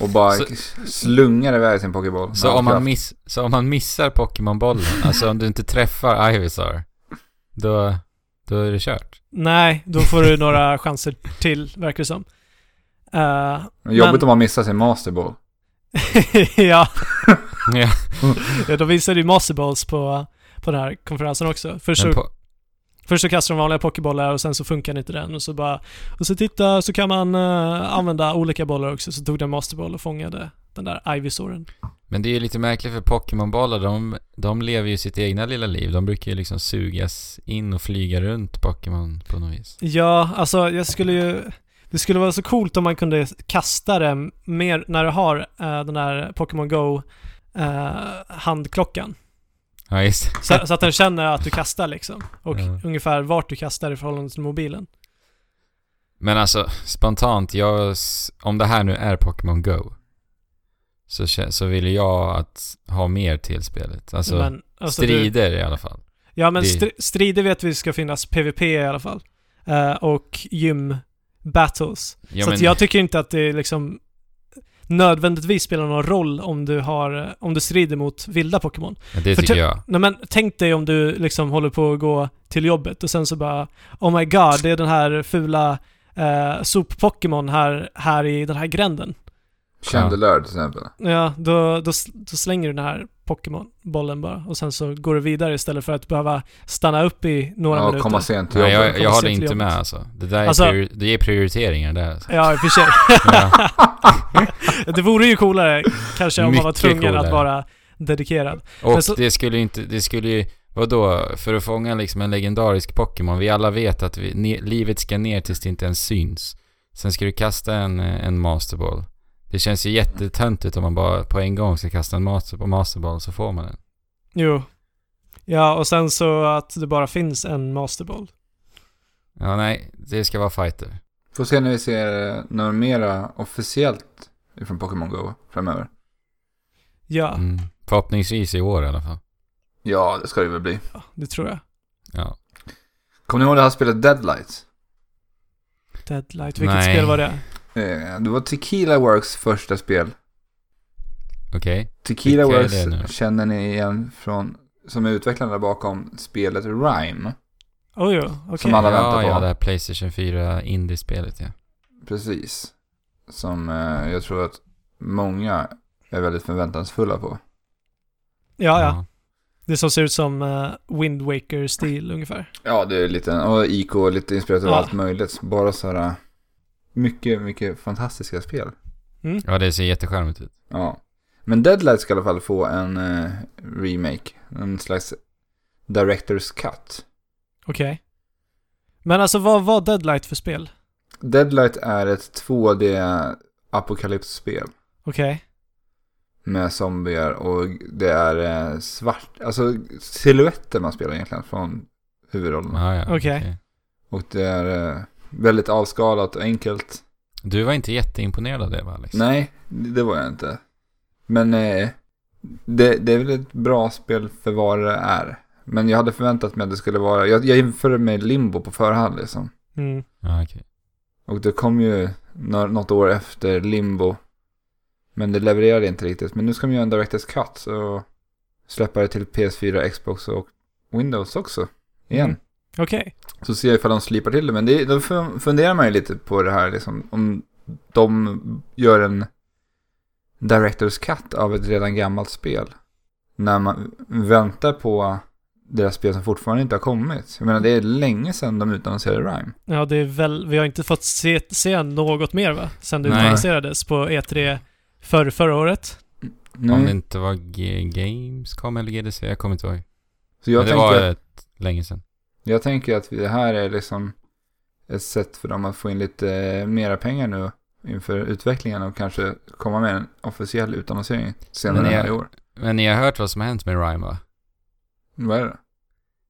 [SPEAKER 2] och bara
[SPEAKER 1] Så-
[SPEAKER 2] slungar iväg sin Pokéboll. med
[SPEAKER 1] Så
[SPEAKER 2] all
[SPEAKER 1] om, man
[SPEAKER 2] kraft.
[SPEAKER 1] miss, så om man missar Pokémon-bollen, alltså om du inte träffar Ivysaur, då, då är det kört.
[SPEAKER 3] nej, då får du några chanser till, verkar det som. Eh,
[SPEAKER 2] Jobbigt
[SPEAKER 3] men-
[SPEAKER 2] om man missar sin Masterboll.
[SPEAKER 3] *laughs* ja.
[SPEAKER 1] Ja.
[SPEAKER 3] ja, de visade ju Masterballs på, på den här konferensen också. Först så,
[SPEAKER 1] Men po-
[SPEAKER 3] först så kastar de vanliga pokébollar och sen så funkar inte den och så bara... Och så titta, så kan man eh, använda olika bollar också. Så tog den Masterboll och fångade den där Ivysoren.
[SPEAKER 1] men det är ju lite märkligt för Pokémon-bollar, de, de lever ju sitt egna lilla liv. De brukar ju liksom sugas in och flyga runt Pokémon på något vis.
[SPEAKER 3] Ja, alltså jag skulle ju... Det skulle vara så coolt om man kunde kasta den mer när du har eh, den där Pokémon Go eh, handklockan.
[SPEAKER 1] Ja, just det.
[SPEAKER 3] Så, så att den känner att du kastar liksom. Och
[SPEAKER 1] Ja.
[SPEAKER 3] ungefär vart du kastar i förhållande till mobilen.
[SPEAKER 1] Men alltså, spontant, jag, s- om det här nu är Pokémon Go, så, kä- så vill jag att ha mer till spelet. Alltså,
[SPEAKER 3] Men, alltså, du-
[SPEAKER 1] strider i alla fall.
[SPEAKER 3] Ja men
[SPEAKER 1] Det-
[SPEAKER 3] str- strider vet vi ska finnas PVP i alla fall. Eh, och gym battles.
[SPEAKER 1] Ja,
[SPEAKER 3] så
[SPEAKER 1] men,
[SPEAKER 3] att jag tycker inte att det liksom nödvändigtvis spelar någon roll om du, har, om du strider mot vilda Pokémon.
[SPEAKER 1] det
[SPEAKER 3] för
[SPEAKER 1] tycker
[SPEAKER 3] te-
[SPEAKER 1] jag.
[SPEAKER 3] Nej men tänk dig om du liksom håller på att gå till jobbet och sen så bara Oh my god, det är den här fula eh, sop-Pokémon här, här i den här gränden.
[SPEAKER 2] Chandelure till exempel.
[SPEAKER 3] Ja, då, då, s- då slänger du den här Pokémon-bollen bara och sen så går du vidare istället för att behöva stanna upp i några
[SPEAKER 2] Ja, och
[SPEAKER 3] minuter.
[SPEAKER 2] komma sent till
[SPEAKER 1] Nej,
[SPEAKER 2] jobbet.
[SPEAKER 1] jag, jag håller
[SPEAKER 3] till
[SPEAKER 1] inte med
[SPEAKER 3] jobbet.
[SPEAKER 1] alltså. Det där är,
[SPEAKER 3] Alltså-
[SPEAKER 1] priori- det är prioriteringar där.
[SPEAKER 3] *laughs*
[SPEAKER 1] Alltså.
[SPEAKER 3] Ja, i och för sig.
[SPEAKER 1] Ja.
[SPEAKER 3] det vore ju coolare kanske om man var
[SPEAKER 1] Mycket
[SPEAKER 3] tvungen att
[SPEAKER 1] coolare.
[SPEAKER 3] vara dedikerad. Men
[SPEAKER 1] Och
[SPEAKER 3] så-
[SPEAKER 1] det skulle ju inte, det skulle ju, vadå, för att fånga liksom en legendarisk Pokémon, vi alla vet att vi, ne, livet ska ner tills det inte ens syns. Sen ska du kasta en, eh, en masterboll. Det känns ju jättetöntigt om man bara på en gång ska kasta en master, masterboll så får man den.
[SPEAKER 3] Jo. Ja, och sen så att det bara finns en masterboll.
[SPEAKER 1] Ja, nej, det ska vara fighter.
[SPEAKER 2] Får se när vi ser eh, något mera officiellt från Pokémon Go framöver.
[SPEAKER 3] Ja,
[SPEAKER 1] Mm. Förhoppningsvis i år i alla fall.
[SPEAKER 2] Ja, det ska det väl bli.
[SPEAKER 3] ja, det tror jag.
[SPEAKER 1] Ja.
[SPEAKER 2] Kommer ni ihåg det här spelet Deadlight?
[SPEAKER 3] Deadlight, vilket
[SPEAKER 1] Nej.
[SPEAKER 3] spel var det?
[SPEAKER 2] Eh, Det var Tequila Works första spel.
[SPEAKER 1] Okej.
[SPEAKER 2] Tequila
[SPEAKER 1] Vilka är
[SPEAKER 2] Works
[SPEAKER 1] det nu?
[SPEAKER 2] känner ni igen från, som är utvecklarna bakom spelet Rhyme.
[SPEAKER 3] Oh, jo, okej.
[SPEAKER 2] Som alla-
[SPEAKER 1] Ja,
[SPEAKER 2] väntar på.
[SPEAKER 1] ja, det här Playstation 4 Indie-spelet ja.
[SPEAKER 2] Precis. Som eh, jag tror att många är väldigt förväntansfulla på.
[SPEAKER 3] Ja, ja. Det som ser ut som uh, Wind Waker-stil ungefär.
[SPEAKER 2] Ja, det är lite, och IK är lite inspirerat av
[SPEAKER 3] Ja.
[SPEAKER 2] allt möjligt. Bara så här, mycket, mycket fantastiska spel.
[SPEAKER 3] Mm.
[SPEAKER 1] Ja, det ser jättecharmigt ut.
[SPEAKER 2] Ja. Men Deadlight ska i alla fall få en eh, remake. En slags Director's Cut.
[SPEAKER 3] Okej. Men alltså vad var Deadlight för spel?
[SPEAKER 2] Deadlight är ett 2D apokalypsspel.
[SPEAKER 3] Okej.
[SPEAKER 2] med zombier och det är eh, svart, alltså silhuetter man spelar egentligen från
[SPEAKER 1] Ja,
[SPEAKER 2] huvudrollerna.
[SPEAKER 1] ja.
[SPEAKER 3] Okej.
[SPEAKER 2] Och det är eh, väldigt avskalat och enkelt.
[SPEAKER 1] Du var inte jätteimponerad av det va, Alex?
[SPEAKER 2] Nej, det var jag inte. Men eh, det, det är väl ett bra spel för vad det är. Men jag hade förväntat mig att det skulle vara, jag, jag införde mig limbo på förhand liksom.
[SPEAKER 3] Mm.
[SPEAKER 1] Ja, okej.
[SPEAKER 2] Och det kom ju nå- något år efter limbo. Men det levererade inte riktigt. Men nu ska man göra en Directors Cut och släppa det till PS4, Xbox och Windows också. Igen.
[SPEAKER 3] Mm. Okej.
[SPEAKER 2] Så ser jag ifall de slipar till det. Men det, då fun- funderar man ju lite på det här liksom. Om de gör en Directors Cut av ett redan gammalt spel. När man väntar på deras spel som fortfarande inte har kommit. Jag menar det är länge sedan de utannonserade Rhyme.
[SPEAKER 3] Ja, det är väl, vi har inte fått se, se något mer va? Sen det
[SPEAKER 1] Nej.
[SPEAKER 3] utannonserades på E3 förr, förra året.
[SPEAKER 1] Om
[SPEAKER 2] Nej.
[SPEAKER 1] det inte var G- Gamescom eller GDC, jag kommer inte ihåg.
[SPEAKER 2] Så jag
[SPEAKER 1] Men det
[SPEAKER 2] tänker
[SPEAKER 1] var
[SPEAKER 2] att-
[SPEAKER 1] ett, länge sedan.
[SPEAKER 2] Jag tänker att det här är liksom ett sätt för dem att få in lite eh, mera pengar nu inför utvecklingen och kanske komma med en officiell utannonsering senare
[SPEAKER 1] Men är-
[SPEAKER 2] i år.
[SPEAKER 1] Men ni har hört vad som har hänt med Rhyme va?
[SPEAKER 2] Vad är det?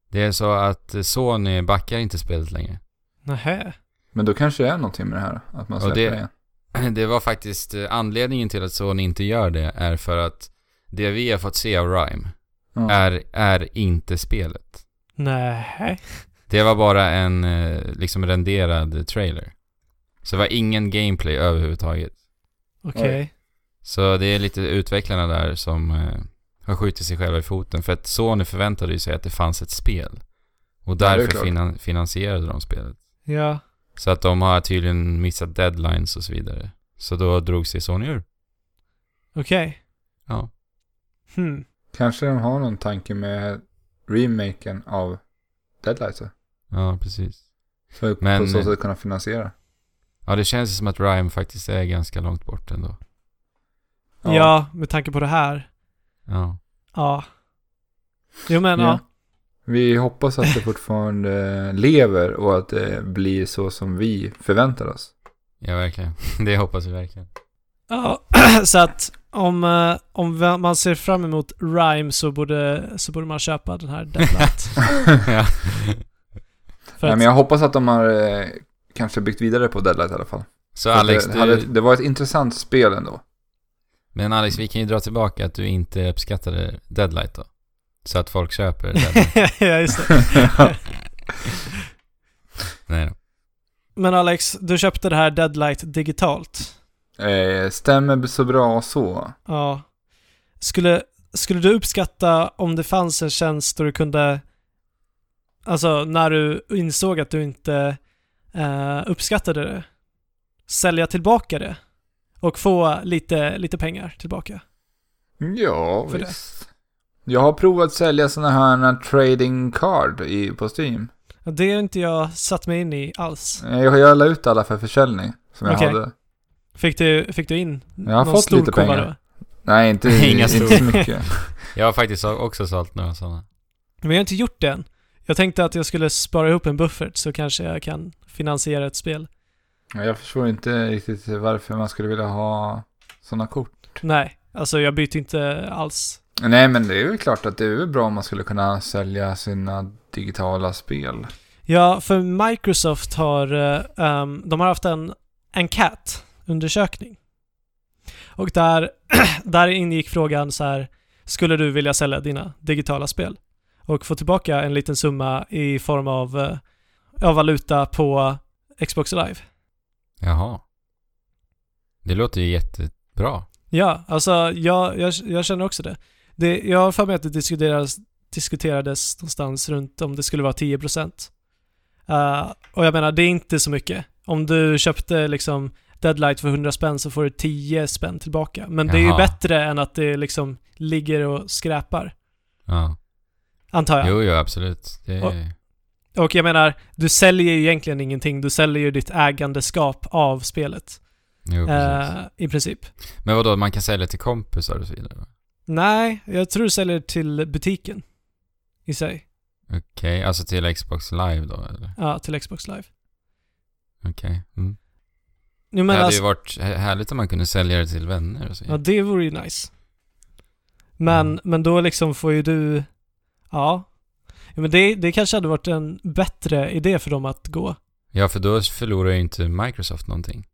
[SPEAKER 1] Det är så att eh, Sony backar inte spelet längre. *clears throat*
[SPEAKER 3] Nähä.
[SPEAKER 2] Men då kanske det är någonting med det här, att man
[SPEAKER 1] Och
[SPEAKER 2] släpper
[SPEAKER 1] det-
[SPEAKER 2] det... igen.
[SPEAKER 1] Det var faktiskt eh, anledningen till att Sony inte gör det är för att det vi har fått se av Rhyme
[SPEAKER 2] Ja.
[SPEAKER 1] är, är inte spelet.
[SPEAKER 3] Nähä.
[SPEAKER 1] Det var bara en eh, liksom renderad trailer. Så det var ingen gameplay överhuvudtaget.
[SPEAKER 3] Okej.
[SPEAKER 1] Så det är lite utvecklarna där som eh, har skjutit sig själva i foten. För att Sony förväntade ju sig att det fanns ett spel. Och
[SPEAKER 2] det är
[SPEAKER 1] därför
[SPEAKER 2] klart.
[SPEAKER 1] finan- finansierade de spelet.
[SPEAKER 3] Ja.
[SPEAKER 1] Så att de har tydligen missat deadlines och så vidare. Så då drog sig Sony ur.
[SPEAKER 3] Okej.
[SPEAKER 1] Ja.
[SPEAKER 3] Hmm.
[SPEAKER 2] Kanske de har någon tanke med remaken av Deadlight så.
[SPEAKER 1] Ja, precis.
[SPEAKER 2] För att
[SPEAKER 1] Men-
[SPEAKER 2] på så sätt kunna finansiera.
[SPEAKER 1] Ja, det känns ju som att Rhyme faktiskt är ganska långt bort ändå.
[SPEAKER 3] Ja. med tanke på det här.
[SPEAKER 1] Ja.
[SPEAKER 3] Ja. Jo men ja.
[SPEAKER 2] Ja. Vi hoppas att det fortfarande lever och att det blir så som vi förväntar oss.
[SPEAKER 1] Ja, verkligen. *laughs* Det hoppas vi verkligen.
[SPEAKER 3] ja. *clears throat* så att om, eh, om vä- man ser fram emot Rhyme så borde, så borde man köpa den
[SPEAKER 1] *laughs*
[SPEAKER 3] här Deadlight.
[SPEAKER 1] ja.
[SPEAKER 3] För
[SPEAKER 2] Nej,
[SPEAKER 3] att-
[SPEAKER 2] men jag hoppas att de har eh, kanske byggt vidare på Deadlight i alla fall.
[SPEAKER 1] Så Alex,
[SPEAKER 2] det, hade,
[SPEAKER 1] du...
[SPEAKER 2] det var ett intressant spel ändå.
[SPEAKER 1] Men Alex, vi kan ju dra tillbaka att du inte uppskattade Deadlight då. Så att folk köper Deadlight.
[SPEAKER 3] *laughs* ja, just det.
[SPEAKER 1] Nej då.
[SPEAKER 3] men Alex, du köpte det här Deadlight digitalt.
[SPEAKER 2] Eh, stämmer så bra så.
[SPEAKER 3] Ja. Skulle, skulle du uppskatta om det fanns en tjänst där du kunde, alltså när du insåg att du inte eh, uppskattade det, sälja tillbaka det och få lite, lite pengar tillbaka?
[SPEAKER 2] Ja,
[SPEAKER 3] För
[SPEAKER 2] visst. Jag har provat sälja sådana här trading card i, på Steam.
[SPEAKER 3] Ja, Det har inte jag satt mig in i alls.
[SPEAKER 2] Eh, Jag, jag la ut alla för försäljning som jag
[SPEAKER 3] Okej.
[SPEAKER 2] hade.
[SPEAKER 3] Fick du, fick du in
[SPEAKER 2] Jag har
[SPEAKER 3] någon
[SPEAKER 2] fått
[SPEAKER 3] stor
[SPEAKER 2] lite
[SPEAKER 3] kova
[SPEAKER 2] pengar.
[SPEAKER 3] då?
[SPEAKER 2] Nej, inte,
[SPEAKER 1] *laughs* Inga
[SPEAKER 2] inte
[SPEAKER 1] stora.
[SPEAKER 2] så mycket.
[SPEAKER 1] Jag har faktiskt också sålt några sådana.
[SPEAKER 3] Men jag har inte gjort det än. Jag tänkte att jag skulle spara ihop en buffert så kanske jag kan finansiera ett spel.
[SPEAKER 2] Ja, Jag förstår inte riktigt varför man skulle vilja ha sådana kort.
[SPEAKER 3] Nej, alltså jag byter inte alls.
[SPEAKER 2] Nej, men det är väl klart att det är väl bra om man skulle kunna sälja sina digitala spel.
[SPEAKER 3] Ja, för Microsoft har, eh, ehm, de har haft en enkätundersökning. Och där, *clears throat* där ingick frågan så här, skulle du vilja sälja dina digitala spel? Och få tillbaka en liten summa i form av eh, av valuta på Xbox Live.
[SPEAKER 1] Jaha. Det låter ju jättebra.
[SPEAKER 3] Ja, alltså jag, jag, jag känner också det. det jag har för mig att det diskuterades, diskuterades någonstans runt om det skulle vara 10%. Uh, och jag menar, det är inte så mycket. Om du köpte liksom Deadlight för 100 spänn så får du 10 spänn tillbaka. Men det är ju
[SPEAKER 1] Jaha.
[SPEAKER 3] bättre än att det liksom ligger och skräpar,
[SPEAKER 1] Ja.
[SPEAKER 3] antar jag.
[SPEAKER 1] Jo, jo, absolut. Det är...
[SPEAKER 3] Och jag menar, du säljer ju egentligen ingenting. Du säljer ju ditt ägandeskap av spelet.
[SPEAKER 1] Jo, precis.
[SPEAKER 3] eh, I princip.
[SPEAKER 1] Men vadå, man kan sälja till kompisar och så vidare? va?
[SPEAKER 3] Nej, jag tror du säljer till butiken i sig.
[SPEAKER 1] Okej, alltså till Xbox live då eller?
[SPEAKER 3] Ja, till Xbox Live.
[SPEAKER 1] Okej. Mm.
[SPEAKER 3] Jo,
[SPEAKER 1] Det
[SPEAKER 3] men
[SPEAKER 1] hade
[SPEAKER 3] alltså,
[SPEAKER 1] ju varit hä- härligt om man kunde sälja det till vänner och så
[SPEAKER 3] ja,
[SPEAKER 1] vidare.
[SPEAKER 3] det vore ju nice. Men,
[SPEAKER 1] Mm.
[SPEAKER 3] men då liksom får ju du, ja. ja men det, det kanske hade varit en bättre idé för dem att gå.
[SPEAKER 1] Ja, för då förlorar ju inte Microsoft någonting.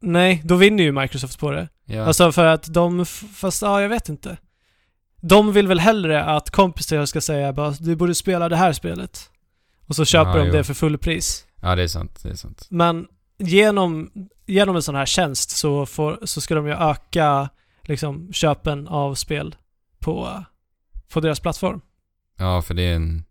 [SPEAKER 3] Nej, då vinner ju Microsoft på det.
[SPEAKER 1] Ja,
[SPEAKER 3] Alltså för att de, f- fast ja, jag vet inte. De vill väl hellre att kompisar ska säga bara du borde spela det här spelet. Och så köper
[SPEAKER 1] Ja,
[SPEAKER 3] de
[SPEAKER 1] jo.
[SPEAKER 3] det för fullpris.
[SPEAKER 1] ja det är sant. Det är sant.
[SPEAKER 3] Men genom, genom en sån här tjänst så, får, så ska de ju öka liksom, köpen av spel på, på deras plattform.
[SPEAKER 1] Ja, för det är, en,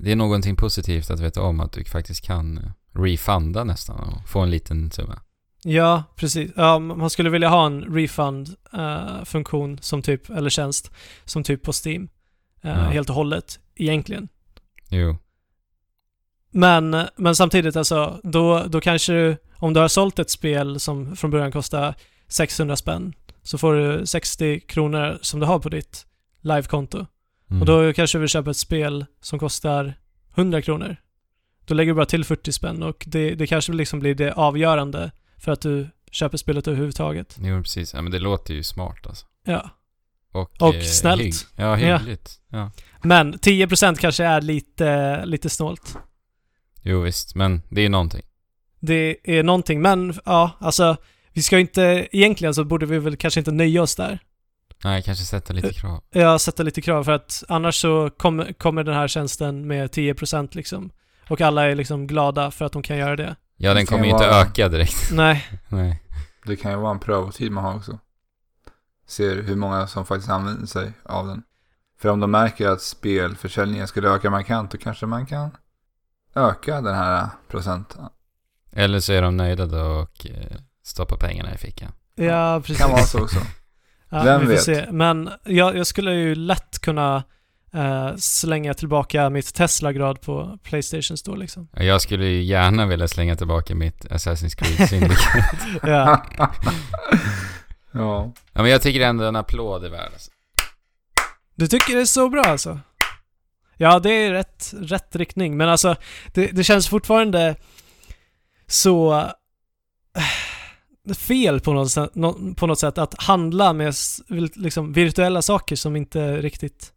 [SPEAKER 1] det är någonting positivt att veta om att du faktiskt kan eh, refunda nästan och få en liten summa.
[SPEAKER 3] Ja, precis. Ja, man skulle vilja ha en refund-funktion som typ, eller tjänst, som typ på Steam. eh,
[SPEAKER 1] Ja.
[SPEAKER 3] Helt och hållet, egentligen.
[SPEAKER 1] Jo,
[SPEAKER 3] Men, men samtidigt alltså, då, då kanske du, om du har sålt ett spel som från början kostar 600 spänn, så får du 60 kronor som du har på ditt livekonto.
[SPEAKER 1] mm.
[SPEAKER 3] Och då kanske vi köper ett spel som kostar 100 kronor. Då lägger du bara till 40 spänn och det, det kanske liksom blir det avgörande för att du köper spelet överhuvudtaget.
[SPEAKER 1] jo precis. Ja, men det låter ju smart alltså.
[SPEAKER 3] Ja.
[SPEAKER 1] Och, eh,
[SPEAKER 3] Och snällt.
[SPEAKER 1] ja,
[SPEAKER 3] Ja.
[SPEAKER 1] hyggligt. Ja.
[SPEAKER 3] Men 10% kanske är lite, lite snålt.
[SPEAKER 1] Jo, visst. Men det är ju någonting.
[SPEAKER 3] Det är någonting, men ja, alltså vi ska ju inte, egentligen så borde vi väl kanske inte nöja oss där.
[SPEAKER 1] Nej, kanske sätta lite krav.
[SPEAKER 3] Jag sätter lite krav för att annars så kommer, kommer den här tjänsten med 10% liksom. Och alla är liksom glada för att de kan göra det.
[SPEAKER 1] Ja, den
[SPEAKER 2] Det kan
[SPEAKER 1] kommer ju
[SPEAKER 2] ju
[SPEAKER 1] inte
[SPEAKER 2] vara-
[SPEAKER 1] öka direkt. *laughs*
[SPEAKER 3] Nej.
[SPEAKER 1] Nej.
[SPEAKER 2] Det kan ju vara en prövotid man har också. Ser hur många som faktiskt använder sig av den. För om de märker att spelförsäljningen skulle öka markant då kanske man kan öka den här procenten.
[SPEAKER 1] Eller så är de nöjda då och eh, stoppar pengarna i fickan.
[SPEAKER 3] Ja, precis.
[SPEAKER 2] Kan vara så också.
[SPEAKER 3] Ja,
[SPEAKER 2] Vem
[SPEAKER 3] vi får
[SPEAKER 2] vet?
[SPEAKER 3] se. Men jag, jag skulle ju lätt kunna eh, slänga tillbaka mitt Tesla-grad på Playstation Store
[SPEAKER 2] *laughs*
[SPEAKER 3] liksom.
[SPEAKER 1] Ja, Jag skulle ju gärna vilja slänga tillbaka mitt Assassin's Creed Syndicate.
[SPEAKER 3] Ja,
[SPEAKER 2] ja.
[SPEAKER 1] ja, men jag tycker ändå en applåd är värd. Alltså.
[SPEAKER 3] du tycker det är så bra alltså? Ja, det är rätt, rätt riktning, men alltså det, det känns fortfarande så eh, fel på något, sätt, nå- på något sätt att handla med s- vil- liksom, virtuella saker som inte riktigt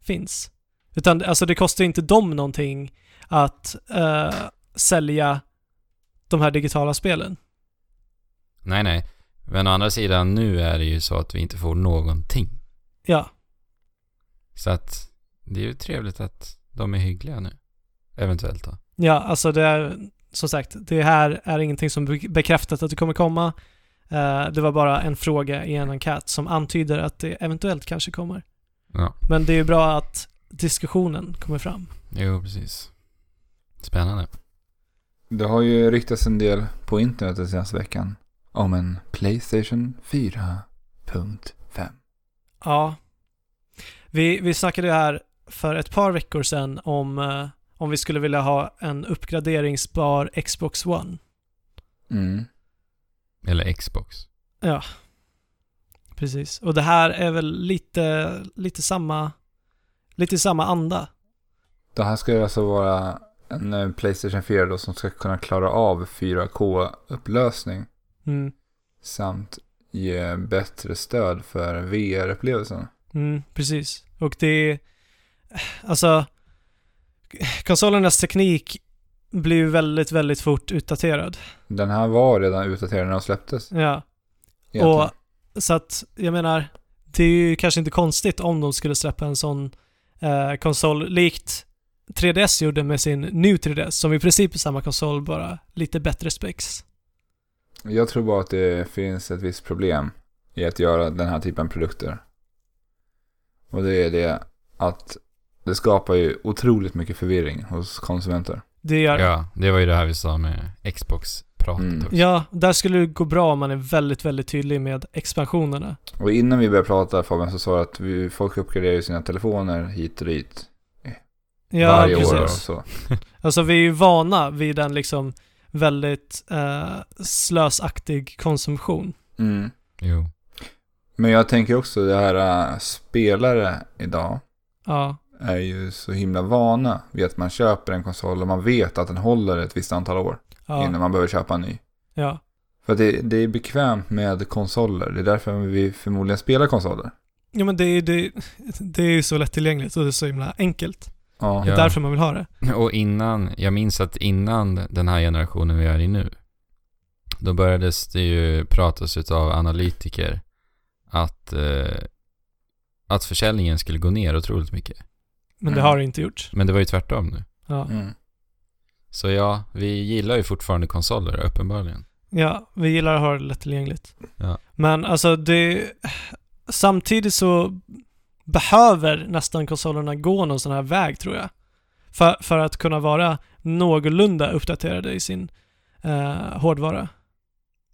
[SPEAKER 3] finns. Utan alltså det kostar ju inte dem någonting att eh, sälja de här digitala spelen.
[SPEAKER 1] Nej, nej. Men å andra sidan, nu är det ju så att vi inte får någonting.
[SPEAKER 3] Ja,
[SPEAKER 1] Så att det är ju trevligt att de är hyggliga nu. Eventuellt då.
[SPEAKER 3] ja alltså det är som sagt, det här är ingenting som be- bekräftat att det kommer komma. Eh, det var bara en fråga i en enkät som antyder att det eventuellt kanske kommer.
[SPEAKER 1] Ja,
[SPEAKER 3] Men det är ju bra att diskussionen kommer fram.
[SPEAKER 1] jo precis. Spännande.
[SPEAKER 2] Det har ju ryktats en del på internet den senaste veckan om en Playstation 4.5.
[SPEAKER 3] Ja. Vi, vi snackade ju här för ett par veckor sedan om, eh, om vi skulle vilja ha en uppgraderingsbar Xbox One.
[SPEAKER 2] Mm.
[SPEAKER 1] Eller Xbox.
[SPEAKER 3] Ja. Precis. Och det här är väl lite, lite samma, lite samma anda.
[SPEAKER 2] Det här ska ju alltså vara en eh, Playstation 4 då som ska kunna klara av 4K-upplösning
[SPEAKER 3] Mm.
[SPEAKER 2] samt ge bättre stöd för VR-upplevelsen.
[SPEAKER 3] Mm, precis. Och det är... Alltså... Konsolernas teknik blir ju väldigt, väldigt fort utdaterad.
[SPEAKER 2] Den här var redan utdaterad när den släpptes.
[SPEAKER 3] Ja.
[SPEAKER 2] egentligen.
[SPEAKER 3] Och så att, jag menar, det är ju kanske inte konstigt om de skulle släppa en sån eh, konsol likt 3DS gjorde med sin New 3DS, som i princip är samma konsol, bara lite bättre specs.
[SPEAKER 2] Jag tror bara att det finns ett visst problem i att göra den här typen av produkter. Och det är det att det skapar ju otroligt mycket förvirring hos konsumenter.
[SPEAKER 3] Det gör
[SPEAKER 1] Ja, det var ju det här vi sa med Xbox-pratet
[SPEAKER 2] Mm.
[SPEAKER 1] också.
[SPEAKER 3] Ja, där skulle det gå bra om man är väldigt, väldigt tydlig med expansionerna.
[SPEAKER 2] Och innan vi började prata Fabian så sa du att vi, folk uppgraderar ju sina telefoner hit och dit.
[SPEAKER 3] Ja,
[SPEAKER 2] varje
[SPEAKER 3] precis.
[SPEAKER 2] år och så.
[SPEAKER 3] Alltså vi är ju vana vid en liksom väldigt eh, slösaktig konsumtion.
[SPEAKER 2] Mm.
[SPEAKER 1] Jo.
[SPEAKER 2] Men jag tänker också det här äh, spelare idag
[SPEAKER 3] Ja,
[SPEAKER 2] är ju så himla vana vid att man köper en konsol och man vet att den håller ett visst antal år
[SPEAKER 3] ja,
[SPEAKER 2] innan man behöver köpa en ny.
[SPEAKER 3] ja.
[SPEAKER 2] För att det, det är bekvämt med konsoler. Det är därför vi förmodligen spelar konsoler.
[SPEAKER 3] Ja men det är, det, det är ju så lättillgängligt och det är så himla enkelt.
[SPEAKER 2] Ja.
[SPEAKER 3] Det är
[SPEAKER 1] Ja.
[SPEAKER 3] därför man vill ha det.
[SPEAKER 1] Och innan, jag minns att innan den här generationen vi är i nu, då börjades det ju pratas utav analytiker att, eh, att försäljningen skulle gå ner otroligt mycket.
[SPEAKER 3] Men det
[SPEAKER 2] Mm.
[SPEAKER 3] har det inte gjort.
[SPEAKER 1] Men det var ju tvärtom nu.
[SPEAKER 3] Ja.
[SPEAKER 2] Mm.
[SPEAKER 1] Så ja, vi gillar ju fortfarande konsoler uppenbarligen.
[SPEAKER 3] Ja, vi gillar att ha det lättillgängligt.
[SPEAKER 1] Ja.
[SPEAKER 3] Men alltså det... Samtidigt så behöver nästan konsolerna gå någon sån här väg tror jag. För, för att kunna vara någorlunda uppdaterade i sin eh, hårdvara.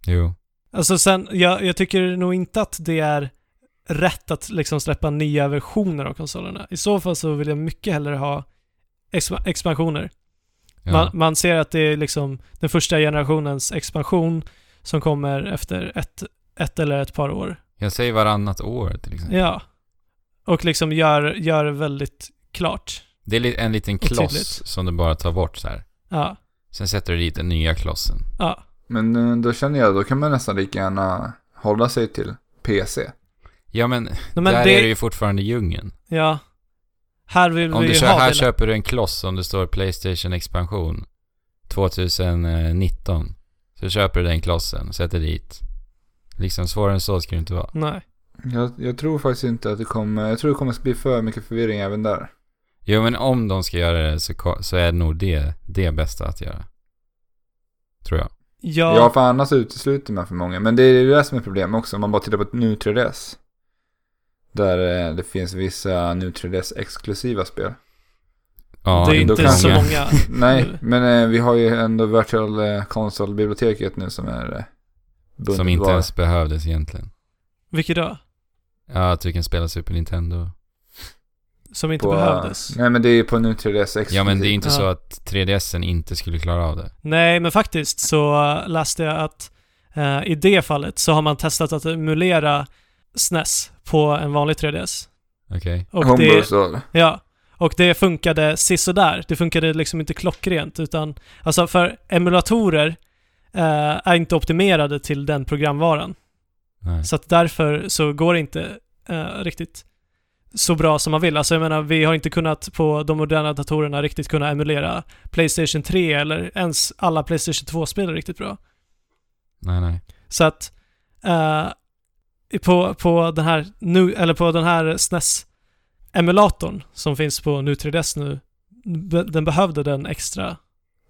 [SPEAKER 1] Jo.
[SPEAKER 3] Alltså sen, jag, jag tycker nog inte att det är rätt att liksom släppa nya versioner av konsolerna. I så fall så vill jag mycket hellre ha expa- expansioner.
[SPEAKER 1] Ja.
[SPEAKER 3] Man, man ser att det är liksom den första generationens expansion som kommer efter ett, ett eller ett par år.
[SPEAKER 1] Jag säger varannat år till exempel.
[SPEAKER 3] Ja. Och liksom gör, gör det väldigt klart.
[SPEAKER 1] Det är li- en liten kloss
[SPEAKER 3] Otydligt.
[SPEAKER 1] som du bara tar bort så här.
[SPEAKER 3] Ja.
[SPEAKER 1] Sen sätter du dit den nya klossen.
[SPEAKER 3] Ja.
[SPEAKER 2] Men eh, då känner jag, då kan man nästan lika gärna hålla sig till PC.
[SPEAKER 1] Ja men,
[SPEAKER 3] Nej,
[SPEAKER 1] där
[SPEAKER 3] men det,
[SPEAKER 1] är det ju fortfarande djungeln.
[SPEAKER 3] Ja. Här vill
[SPEAKER 1] Om
[SPEAKER 3] vi
[SPEAKER 1] du
[SPEAKER 3] ju
[SPEAKER 1] kör,
[SPEAKER 3] ha
[SPEAKER 1] här
[SPEAKER 3] det.
[SPEAKER 1] köper du en kloss om det står Playstation expansion 2019. Så köper du den klossen, sätter dit. Liksom svårare än så ska det inte vara.
[SPEAKER 3] Nej.
[SPEAKER 2] Jag, jag tror faktiskt inte att det kommer, jag tror det kommer bli för mycket förvirring även där.
[SPEAKER 1] Jo men om de ska göra det så, ko- så är det nog det, det bästa att göra. Tror jag.
[SPEAKER 3] Ja.
[SPEAKER 2] Ja, för annars utesluter man för många. Men det är ju det som är problemet också, om man bara tittar på ett nu 3DS. Där eh, det finns vissa nu 3DS exklusiva spel.
[SPEAKER 1] Ja,
[SPEAKER 3] det är
[SPEAKER 2] då
[SPEAKER 3] inte
[SPEAKER 2] kan
[SPEAKER 3] så
[SPEAKER 2] jag-
[SPEAKER 3] många.
[SPEAKER 2] Nej, men eh, vi har ju ändå Virtual eh, Console-biblioteket nu som är eh, bundbart.
[SPEAKER 1] Som inte ens behövdes egentligen.
[SPEAKER 3] Vilket då?
[SPEAKER 1] Ja, att du kan spela Super Nintendo.
[SPEAKER 3] Som inte
[SPEAKER 2] på,
[SPEAKER 3] behövdes.
[SPEAKER 2] Nej, men det är ju på nu 3DS exklusivt.
[SPEAKER 1] Ja, men det är inte
[SPEAKER 3] Ja.
[SPEAKER 1] så att 3DSen inte skulle klara av det.
[SPEAKER 3] Nej, men faktiskt så äh, läste jag att eh, i det fallet så har man testat att emulera SNES på en vanlig 3DS.
[SPEAKER 1] Okej.
[SPEAKER 3] Och det, Ja, och det funkade sisådär. Det funkade liksom inte klockrent utan, alltså för emulatorer eh, är inte optimerade till den programvaran.
[SPEAKER 1] Nej.
[SPEAKER 3] Så att därför så går det inte eh, riktigt så bra som man vill. Alltså jag menar, vi har inte kunnat på de moderna datorerna riktigt kunna emulera Playstation 3 eller ens alla Playstation 2-spel riktigt bra.
[SPEAKER 1] Nej, nej.
[SPEAKER 3] Så att eh, på, på den här nu, eller på den här SNES-emulatorn som finns på nu 3DS nu, be- den behövde den extra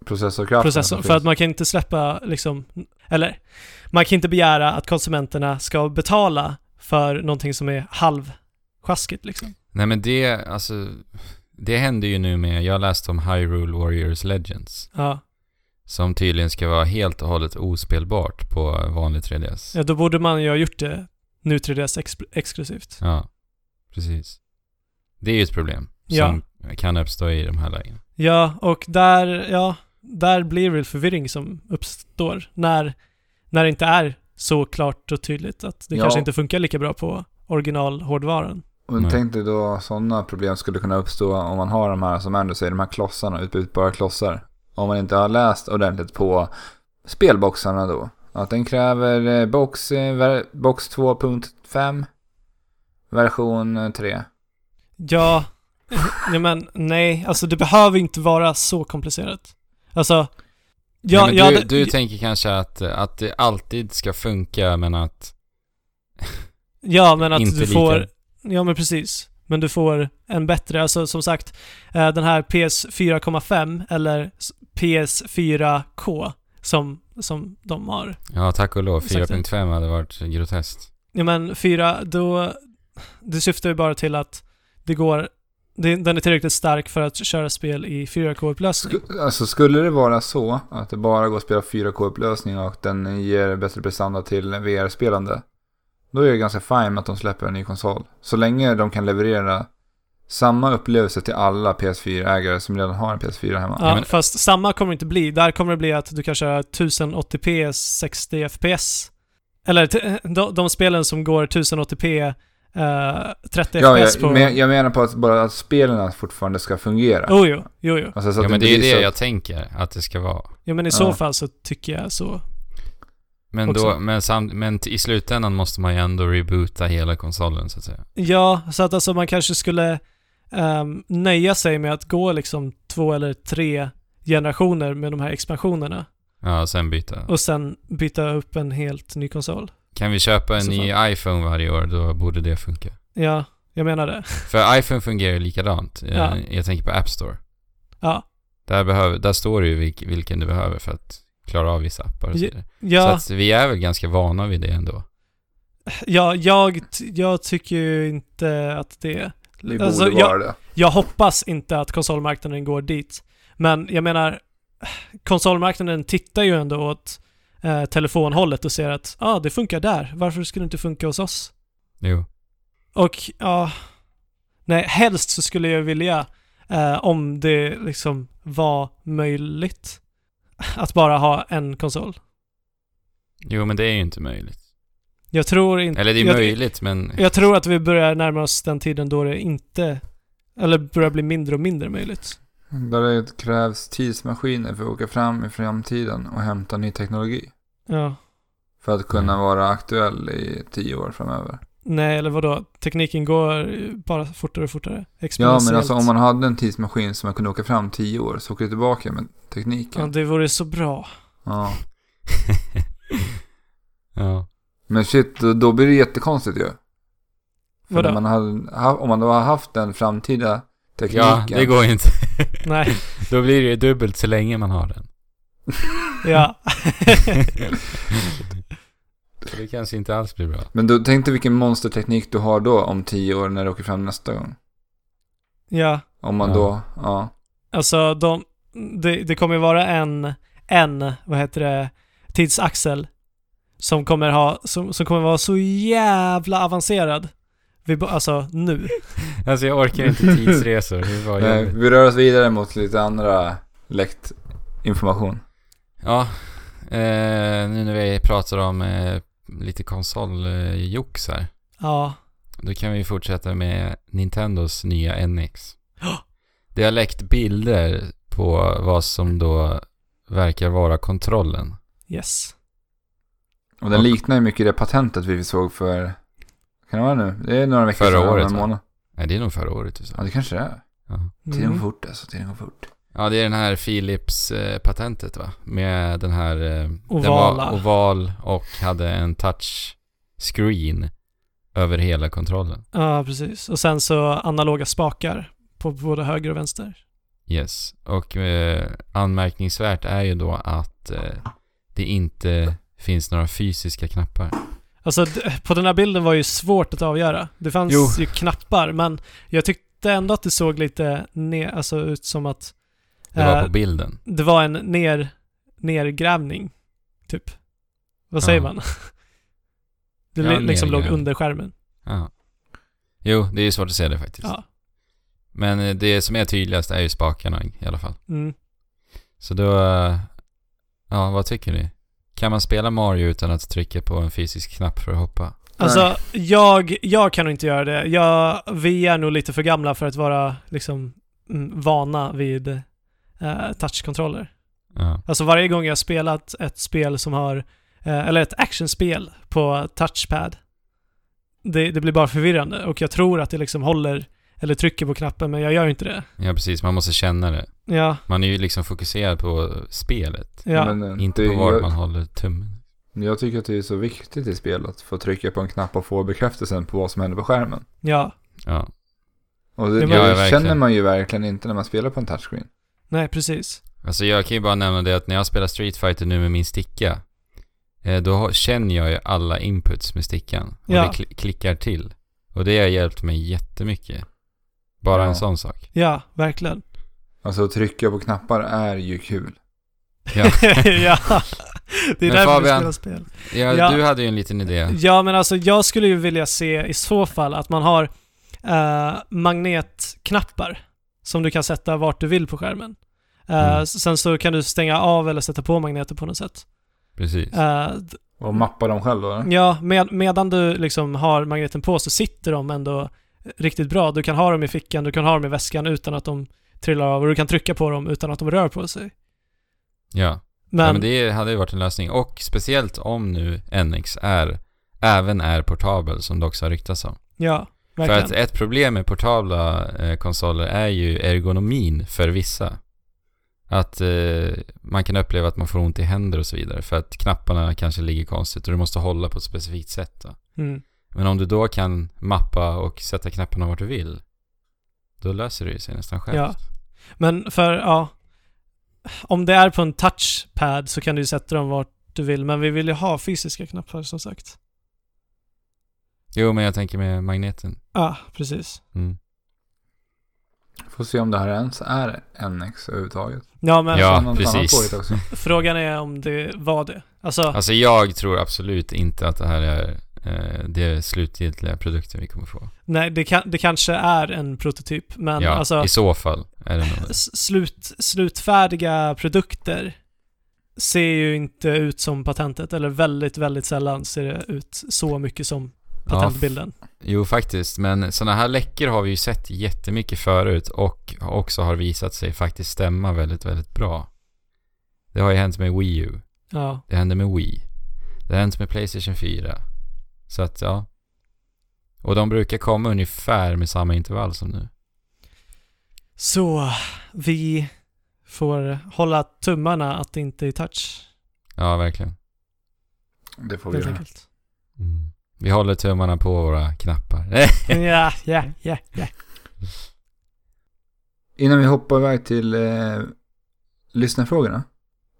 [SPEAKER 2] Processorkraften.
[SPEAKER 3] processorn. För att man kan inte släppa liksom, eller man kan inte begära att konsumenterna ska betala för någonting som är halvsjaskigt liksom.
[SPEAKER 1] Nej, men det, alltså, det händer ju nu med, jag läste om Hyrule Warriors Legends.
[SPEAKER 3] Ja.
[SPEAKER 1] Som tydligen ska vara helt och hållet ospelbart på vanlig 3DS.
[SPEAKER 3] ja, då borde man ju ha gjort det nu 3DS ex- exklusivt.
[SPEAKER 1] Ja, precis. Det är ju ett problem som kan uppstå i de här lägena.
[SPEAKER 3] Ja, och där, ja, där blir väl förvirring som uppstår när, när det inte är så klart och tydligt att det
[SPEAKER 2] Ja.
[SPEAKER 3] kanske inte funkar lika bra på originalhårdvaran.
[SPEAKER 2] Och
[SPEAKER 1] Nej.
[SPEAKER 2] tänk dig då sådana problem skulle kunna uppstå om man har de här, som Andrew säger, de här klossarna, utbytbara klossar. Om man inte har läst ordentligt på spelboxarna då. Att den kräver eh, box, eh, ver- box 2.5, version
[SPEAKER 3] *laughs*
[SPEAKER 2] eh, 3.
[SPEAKER 3] Ja, ja men nej, alltså det behöver inte vara så komplicerat. Alltså, ja,
[SPEAKER 1] Nej, men
[SPEAKER 3] ja,
[SPEAKER 1] du,
[SPEAKER 3] det-
[SPEAKER 1] du tänker kanske att, att det alltid ska funka, men att
[SPEAKER 3] ja, men att
[SPEAKER 1] inte
[SPEAKER 3] du får,
[SPEAKER 1] lika.
[SPEAKER 3] ja men precis. men du får en bättre. Alltså som sagt, eh, den här PS4,5 eller s- PS4K som, som de har.
[SPEAKER 1] Ja, tack och lov.
[SPEAKER 3] Exakt.
[SPEAKER 1] 4.5 hade varit groteskt.
[SPEAKER 3] Ja men 4, då... Det syftar ju bara till att det går... Det, den är tillräckligt stark för att köra spel i 4K-upplösning.
[SPEAKER 2] Sk- alltså skulle det vara så att det bara går att spela 4K-upplösning och den ger bättre prestanda till VR-spelande. Då är jag ganska fine med att de släpper en ny konsol. Så länge de kan leverera samma upplevelse till alla PS4-ägare som redan har en PS4 hemma.
[SPEAKER 3] Ja,
[SPEAKER 1] Ja, men-
[SPEAKER 3] Fast samma kommer det inte bli. Där kommer det bli att du kan köra 1080p 60 fps. Eller t- de, de spelen som går 1080p eh, 30
[SPEAKER 2] Ja,
[SPEAKER 3] fps
[SPEAKER 2] jag,
[SPEAKER 3] på...
[SPEAKER 2] men jag menar på att bara att spelen fortfarande ska fungera.
[SPEAKER 3] Oh, jo, jo, jo.
[SPEAKER 2] Alltså, så
[SPEAKER 1] Ja,
[SPEAKER 2] att
[SPEAKER 1] men det är ju
[SPEAKER 2] blir
[SPEAKER 1] det
[SPEAKER 2] så-
[SPEAKER 1] jag tänker att det ska vara.
[SPEAKER 3] Ja, men i
[SPEAKER 2] Ja.
[SPEAKER 3] så fall så tycker jag så.
[SPEAKER 1] Men,
[SPEAKER 3] Också.
[SPEAKER 1] då, men, sam, men t- i slutändan måste man ju ändå reboota hela konsolen så att säga.
[SPEAKER 3] Ja, så att alltså man kanske skulle ehm, nöja sig med att gå liksom två eller tre generationer med de här expansionerna
[SPEAKER 1] Ja, och sen byta.
[SPEAKER 3] och sen byta upp en helt ny konsol.
[SPEAKER 1] Kan vi köpa en
[SPEAKER 3] Så
[SPEAKER 1] ny iPhone varje år, då borde det funka.
[SPEAKER 3] Ja, jag menar det.
[SPEAKER 1] För iPhone fungerar ju likadant. Eh,
[SPEAKER 3] Ja.
[SPEAKER 1] Jag tänker på App Store.
[SPEAKER 3] Ja.
[SPEAKER 1] Där, behöver, där står det ju vilk, vilken du behöver för att klara av vissa appar och så
[SPEAKER 3] Ja.
[SPEAKER 1] vidare. Så
[SPEAKER 3] Ja,
[SPEAKER 1] att vi är väl ganska vana vid det ändå.
[SPEAKER 3] ja jag, t- jag tycker ju inte att det...
[SPEAKER 2] Det borde
[SPEAKER 3] Alltså,
[SPEAKER 2] vara
[SPEAKER 3] jag,
[SPEAKER 2] det.
[SPEAKER 3] jag hoppas inte att konsolmarknaden går dit. Men jag menar, konsolmarknaden tittar ju ändå åt eh, telefonhållet och ser att ah, det funkar där. Varför skulle det inte funka hos oss?
[SPEAKER 1] Jo.
[SPEAKER 3] Och ja, nej, helst så skulle jag vilja, eh, om det liksom var möjligt, att bara ha en konsol.
[SPEAKER 1] Jo, men det är ju inte möjligt.
[SPEAKER 3] Jag tror inte...
[SPEAKER 1] Eller det är
[SPEAKER 3] jag,
[SPEAKER 1] möjligt, men...
[SPEAKER 3] Jag tror att vi börjar närma oss den tiden då det inte, eller börjar bli mindre och mindre möjligt.
[SPEAKER 2] Där det krävs tidsmaskiner för att åka fram i framtiden och hämta ny teknologi.
[SPEAKER 3] Ja.
[SPEAKER 2] För att kunna
[SPEAKER 1] Mm.
[SPEAKER 2] vara aktuell i tio år framöver.
[SPEAKER 3] Nej, eller vadå? Tekniken går ju bara fortare och fortare.
[SPEAKER 2] Ja,
[SPEAKER 3] Exponentiellt.
[SPEAKER 2] men alltså om man hade en tidsmaskin som man kunde åka fram tio år så åker du tillbaka med
[SPEAKER 3] Ja,
[SPEAKER 2] tekniken.
[SPEAKER 3] det vore så bra.
[SPEAKER 2] Ja.
[SPEAKER 1] *laughs* ja.
[SPEAKER 2] Men shit, då, då blir det jättekonstigt ju. För
[SPEAKER 3] Vadå?
[SPEAKER 2] när man hade, ha- om man då har haft den framtida tekniken.
[SPEAKER 1] ja, det går ju inte.
[SPEAKER 3] Nej,
[SPEAKER 1] Då blir det ju dubbelt så länge man har den.
[SPEAKER 3] ja.
[SPEAKER 1] Så *laughs* det kanske inte alls blir bra.
[SPEAKER 2] Men då, tänk dig vilken monsterteknik du har då om tio år när du åker fram nästa gång.
[SPEAKER 3] ja.
[SPEAKER 2] Om man
[SPEAKER 1] Ja.
[SPEAKER 2] då, ja.
[SPEAKER 3] Alltså de, det, det kommer ju vara en, en, vad heter det, tidsaxel som kommer ha, som, som kommer vara så jävla avancerad. Vi, bo- alltså nu.
[SPEAKER 1] Alltså jag orkar inte tidsresor. Det var
[SPEAKER 2] Nej,
[SPEAKER 1] jobbigt.
[SPEAKER 2] vi rör oss vidare mot lite andra läckt information.
[SPEAKER 1] Ja, eh, nu när vi pratar om eh, lite konsoljox här.
[SPEAKER 3] Ja,
[SPEAKER 1] Då kan vi fortsätta med Nintendos nya *gasps* NX.
[SPEAKER 3] Ja.
[SPEAKER 1] Det har läckt bilder på vad som då verkar vara kontrollen.
[SPEAKER 3] yes.
[SPEAKER 2] Och den
[SPEAKER 1] Och-
[SPEAKER 2] liknar ju mycket det patentet vi såg för, kan det vara nu? Det är några veckor
[SPEAKER 1] Förra
[SPEAKER 2] sedan, några
[SPEAKER 1] året, va?
[SPEAKER 2] månader.
[SPEAKER 1] Nej, det är nog förra året du
[SPEAKER 2] Ja,
[SPEAKER 1] sa.
[SPEAKER 2] det kanske det är.
[SPEAKER 1] Ja.
[SPEAKER 2] Tiden går
[SPEAKER 3] Mm.
[SPEAKER 2] fort alltså, tiden går fort.
[SPEAKER 1] ja, det är den här Philips-patentet va? Med den här... eh, Den
[SPEAKER 3] Ovala.
[SPEAKER 1] var oval och hade en touchscreen över hela kontrollen.
[SPEAKER 3] Ja, precis. Och sen så analoga spakar på både höger och vänster.
[SPEAKER 1] Yes, och eh, anmärkningsvärt är ju då att eh, det inte finns några fysiska knappar.
[SPEAKER 3] Alltså d- på den här bilden var ju svårt att avgöra. Det fanns
[SPEAKER 1] Jo.
[SPEAKER 3] ju knappar, men jag tyckte ändå att det såg lite ner, alltså ut som att
[SPEAKER 1] Det var
[SPEAKER 3] eh,
[SPEAKER 1] på bilden.
[SPEAKER 3] det var en ner, nergrävning, typ. Vad säger
[SPEAKER 1] Ja.
[SPEAKER 3] man? *laughs* Det
[SPEAKER 1] Ja,
[SPEAKER 3] li- liksom låg
[SPEAKER 1] nergrävning.
[SPEAKER 3] under skärmen.
[SPEAKER 1] Ja. Jo, det är ju svårt att se det faktiskt.
[SPEAKER 3] Ja.
[SPEAKER 1] Men eh, det som är tydligast är ju spakarna i alla fall.
[SPEAKER 3] Mm.
[SPEAKER 1] Så då, eh, ja vad tycker ni? Kan man spela Mario utan att trycka på en fysisk knapp för att hoppa?
[SPEAKER 3] Alltså, jag, jag kan nog inte göra det. Jag, vi är nog lite för gamla för att vara liksom mm, vana vid eh, touchkontroller.
[SPEAKER 1] Ja.
[SPEAKER 3] Alltså varje gång jag spelat ett spel som har, eh, eller ett actionspel på touchpad, det, det blir bara förvirrande och jag tror att det liksom håller eller trycker på knappen men jag gör ju inte det.
[SPEAKER 1] ja, precis. Man måste känna det.
[SPEAKER 3] Ja,
[SPEAKER 1] Man är ju liksom fokuserad på spelet.
[SPEAKER 3] ja.
[SPEAKER 2] Men, eh,
[SPEAKER 1] Inte
[SPEAKER 2] det,
[SPEAKER 1] på var
[SPEAKER 2] jag,
[SPEAKER 1] man håller tummen.
[SPEAKER 2] jag tycker att det är så viktigt i spel att få trycka på en knapp och få bekräftelsen på vad som händer på skärmen.
[SPEAKER 3] Ja,
[SPEAKER 1] Ja.
[SPEAKER 2] Och det,
[SPEAKER 3] Ja,
[SPEAKER 2] det
[SPEAKER 1] verkligen.
[SPEAKER 2] känner man ju verkligen inte när man spelar på en touchscreen.
[SPEAKER 3] Nej, precis.
[SPEAKER 1] Alltså jag kan ju bara nämna det att när jag spelar Street Fighter nu med min sticka, eh, då har- känner jag ju alla inputs med stickan. Och
[SPEAKER 3] Ja.
[SPEAKER 1] det kli- klickar till. Och det har hjälpt mig jättemycket. Bara
[SPEAKER 2] Ja.
[SPEAKER 1] en sån sak.
[SPEAKER 3] Ja,
[SPEAKER 1] *laughs*
[SPEAKER 3] verkligen. *laughs*
[SPEAKER 2] Alltså att trycka på knappar är ju kul.
[SPEAKER 1] Ja.
[SPEAKER 3] ja. Det är
[SPEAKER 1] Men
[SPEAKER 3] därför
[SPEAKER 1] Fabian-
[SPEAKER 3] vi spelar spel.
[SPEAKER 1] Ja,
[SPEAKER 3] Ja.
[SPEAKER 1] Du hade ju en liten idé.
[SPEAKER 3] Ja, men alltså jag skulle ju vilja se i så fall att man har eh, magnetknappar som du kan sätta vart du vill på skärmen. Eh,
[SPEAKER 1] Mm.
[SPEAKER 3] Sen så kan du stänga av eller sätta på magneter på något sätt.
[SPEAKER 1] Precis.
[SPEAKER 3] Eh, d-
[SPEAKER 2] Och mappa dem själv då. eller?
[SPEAKER 3] ja, med, medan du liksom har magneten på så sitter de ändå eh, riktigt bra. Du kan ha dem i fickan, du kan ha dem i väskan utan att de trillar av och du kan trycka på dem utan att de rör på sig.
[SPEAKER 1] Ja.
[SPEAKER 3] Men,
[SPEAKER 1] ja. Men det hade ju varit en lösning. Och speciellt om nu NX är, även är portabel som det också har ryktats om.
[SPEAKER 3] ja,
[SPEAKER 1] För
[SPEAKER 3] verkligen.
[SPEAKER 1] att ett problem med portabla eh, konsoler är ju ergonomin för vissa. Att eh, man kan uppleva att man får ont i händer och så vidare för att knapparna kanske ligger konstigt och du måste hålla på ett specifikt sätt. Då.
[SPEAKER 3] Mm.
[SPEAKER 1] Men om du då kan mappa och sätta knapparna vart du vill, då löser det ju sig nästan självt.
[SPEAKER 3] Ja. Men för, ja. Om det är på en touchpad så kan du ju sätta dem vart du vill, men vi vill ju ha fysiska knappar som sagt.
[SPEAKER 1] Jo, men jag tänker med magneten.
[SPEAKER 3] Ja, precis.
[SPEAKER 1] Mm.
[SPEAKER 2] Får se om det här ens är NX överhuvudtaget.
[SPEAKER 3] Ja, men
[SPEAKER 1] Ja.
[SPEAKER 2] Fan, något annat
[SPEAKER 1] precis.
[SPEAKER 2] påhitt också.
[SPEAKER 3] frågan är om det var det. Alltså,
[SPEAKER 1] Alltså jag tror absolut inte att det här är eh, det slutgiltiga produkten vi kommer få.
[SPEAKER 3] nej, det, kan, det kanske är en prototyp, men
[SPEAKER 1] ja,
[SPEAKER 3] alltså
[SPEAKER 1] i så fall är det
[SPEAKER 3] *laughs*
[SPEAKER 1] nog.
[SPEAKER 3] s- slut, slutfärdiga produkter ser ju inte ut som patentet, eller väldigt, väldigt sällan ser det ut så mycket som
[SPEAKER 1] Ja,
[SPEAKER 3] patentbilden.
[SPEAKER 1] Jo, faktiskt. Men sådana här läckor har vi ju sett jättemycket förut och också har visat sig faktiskt stämma väldigt, väldigt bra. Det har ju hänt med Wii U.
[SPEAKER 3] Ja,
[SPEAKER 1] Det hände med Wii. Det har hänt med Playstation 4. Så att, ja. Och de brukar komma ungefär med samma intervall som nu.
[SPEAKER 3] så vi får hålla tummarna att det inte är touch.
[SPEAKER 1] Ja, verkligen.
[SPEAKER 2] Det får vi
[SPEAKER 3] Helt
[SPEAKER 2] göra.
[SPEAKER 3] enkelt.
[SPEAKER 1] Mm. Vi håller tummarna på våra knappar.
[SPEAKER 3] Ja, ja, ja, ja.
[SPEAKER 2] Innan vi hoppar iväg till eh, lyssnarfrågorna.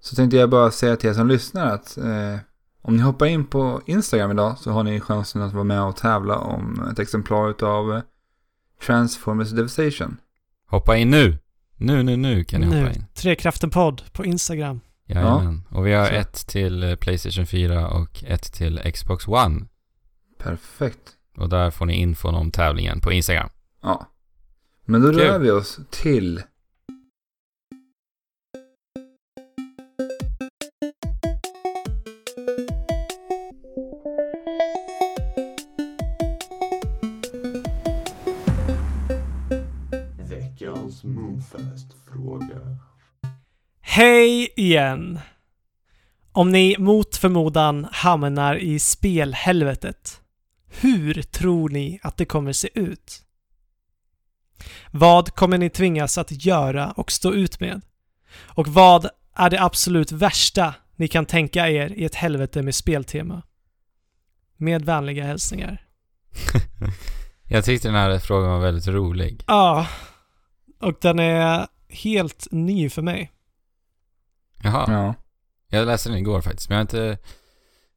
[SPEAKER 2] Så tänkte jag bara säga till er som lyssnar att eh, om ni hoppar in på Instagram idag så har ni chansen att vara med och tävla om ett exemplar av eh, Transformers Devastation.
[SPEAKER 1] hoppa in nu! Nu, nu, nu kan ni hoppa in.
[SPEAKER 3] Trekraften-podd på Instagram.
[SPEAKER 1] Jajamän. Och vi har
[SPEAKER 2] Så.
[SPEAKER 1] ett till eh, Playstation 4 och ett till Xbox One.
[SPEAKER 2] Perfekt.
[SPEAKER 1] Och där får ni infon om tävlingen på Instagram.
[SPEAKER 2] Ja. Men då
[SPEAKER 1] Kul.
[SPEAKER 2] rör vi oss till
[SPEAKER 4] Veckans Moonfest-fråga.
[SPEAKER 3] Hej igen! Om ni mot förmodan hamnar i spelhelvetet, hur tror ni att det kommer se ut? Vad kommer ni tvingas att göra och stå ut med? Och vad är det absolut värsta ni kan tänka er i ett helvete med speltema? Med vänliga hälsningar.
[SPEAKER 1] Jag tyckte den här frågan var väldigt rolig.
[SPEAKER 3] Ja, och den är helt ny för mig.
[SPEAKER 1] Jaha,
[SPEAKER 2] Ja.
[SPEAKER 1] jag läste den igår faktiskt, men jag har inte,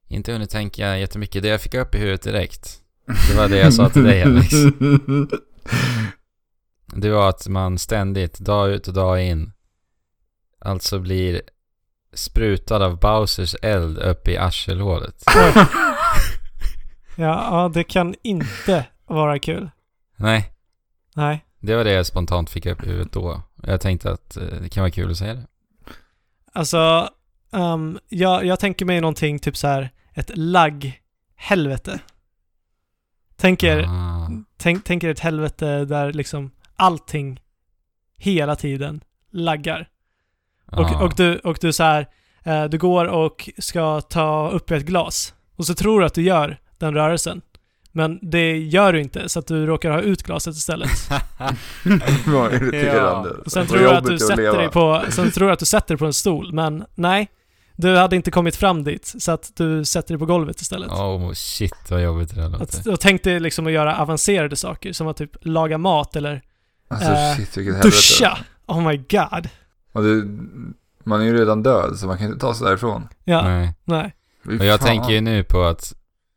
[SPEAKER 1] inte hunnit tänka jättemycket. Det jag fick upp i huvudet direkt, det var det jag sa till dig
[SPEAKER 2] *laughs*
[SPEAKER 1] Alex. Det var att man ständigt, dag ut och dag in, alltså blir sprutad av Bowsers eld upp i
[SPEAKER 2] *laughs*
[SPEAKER 1] arselhålet.
[SPEAKER 3] Ja, ja det kan inte vara kul.
[SPEAKER 1] Nej,
[SPEAKER 3] Nej.
[SPEAKER 1] det var det jag spontant fick upp i huvudet då. Jag tänkte att eh, det kan vara kul att säga det.
[SPEAKER 3] Alltså, ehm, jag, jag tänker mig någonting typ så här ett lagg-helvete. Tänker,
[SPEAKER 1] Ah,
[SPEAKER 3] tänk, tänker ett helvete där liksom allting hela tiden laggar.
[SPEAKER 1] ah.
[SPEAKER 3] Och, och du, och du så här, eh, du går och ska ta upp ett glas och så tror du att du gör den rörelsen. Men det gör du inte, så att du råkar ha ut glaset istället.
[SPEAKER 2] *laughs* Vad irriterande.
[SPEAKER 3] Och sen
[SPEAKER 2] Vad
[SPEAKER 3] tror du att du
[SPEAKER 2] jobbigt
[SPEAKER 3] sätter
[SPEAKER 2] leva.
[SPEAKER 3] dig på, sen tror du att du sätter dig på en stol, men nej. Du hade inte kommit fram dit, så att du sätter dig på golvet istället.
[SPEAKER 1] Oh shit vad jobbigt det där låter.
[SPEAKER 3] Att, och tänk dig liksom att göra avancerade saker, som att typ laga mat eller
[SPEAKER 2] Alltså
[SPEAKER 3] Eh,
[SPEAKER 2] shit vilket helvete.
[SPEAKER 3] Duscha! Oh my god.
[SPEAKER 2] Och du, man är ju redan död så man kan inte ta sig därifrån.
[SPEAKER 3] Ja, nej.
[SPEAKER 1] Nej. Och jag tänker ju nu på att,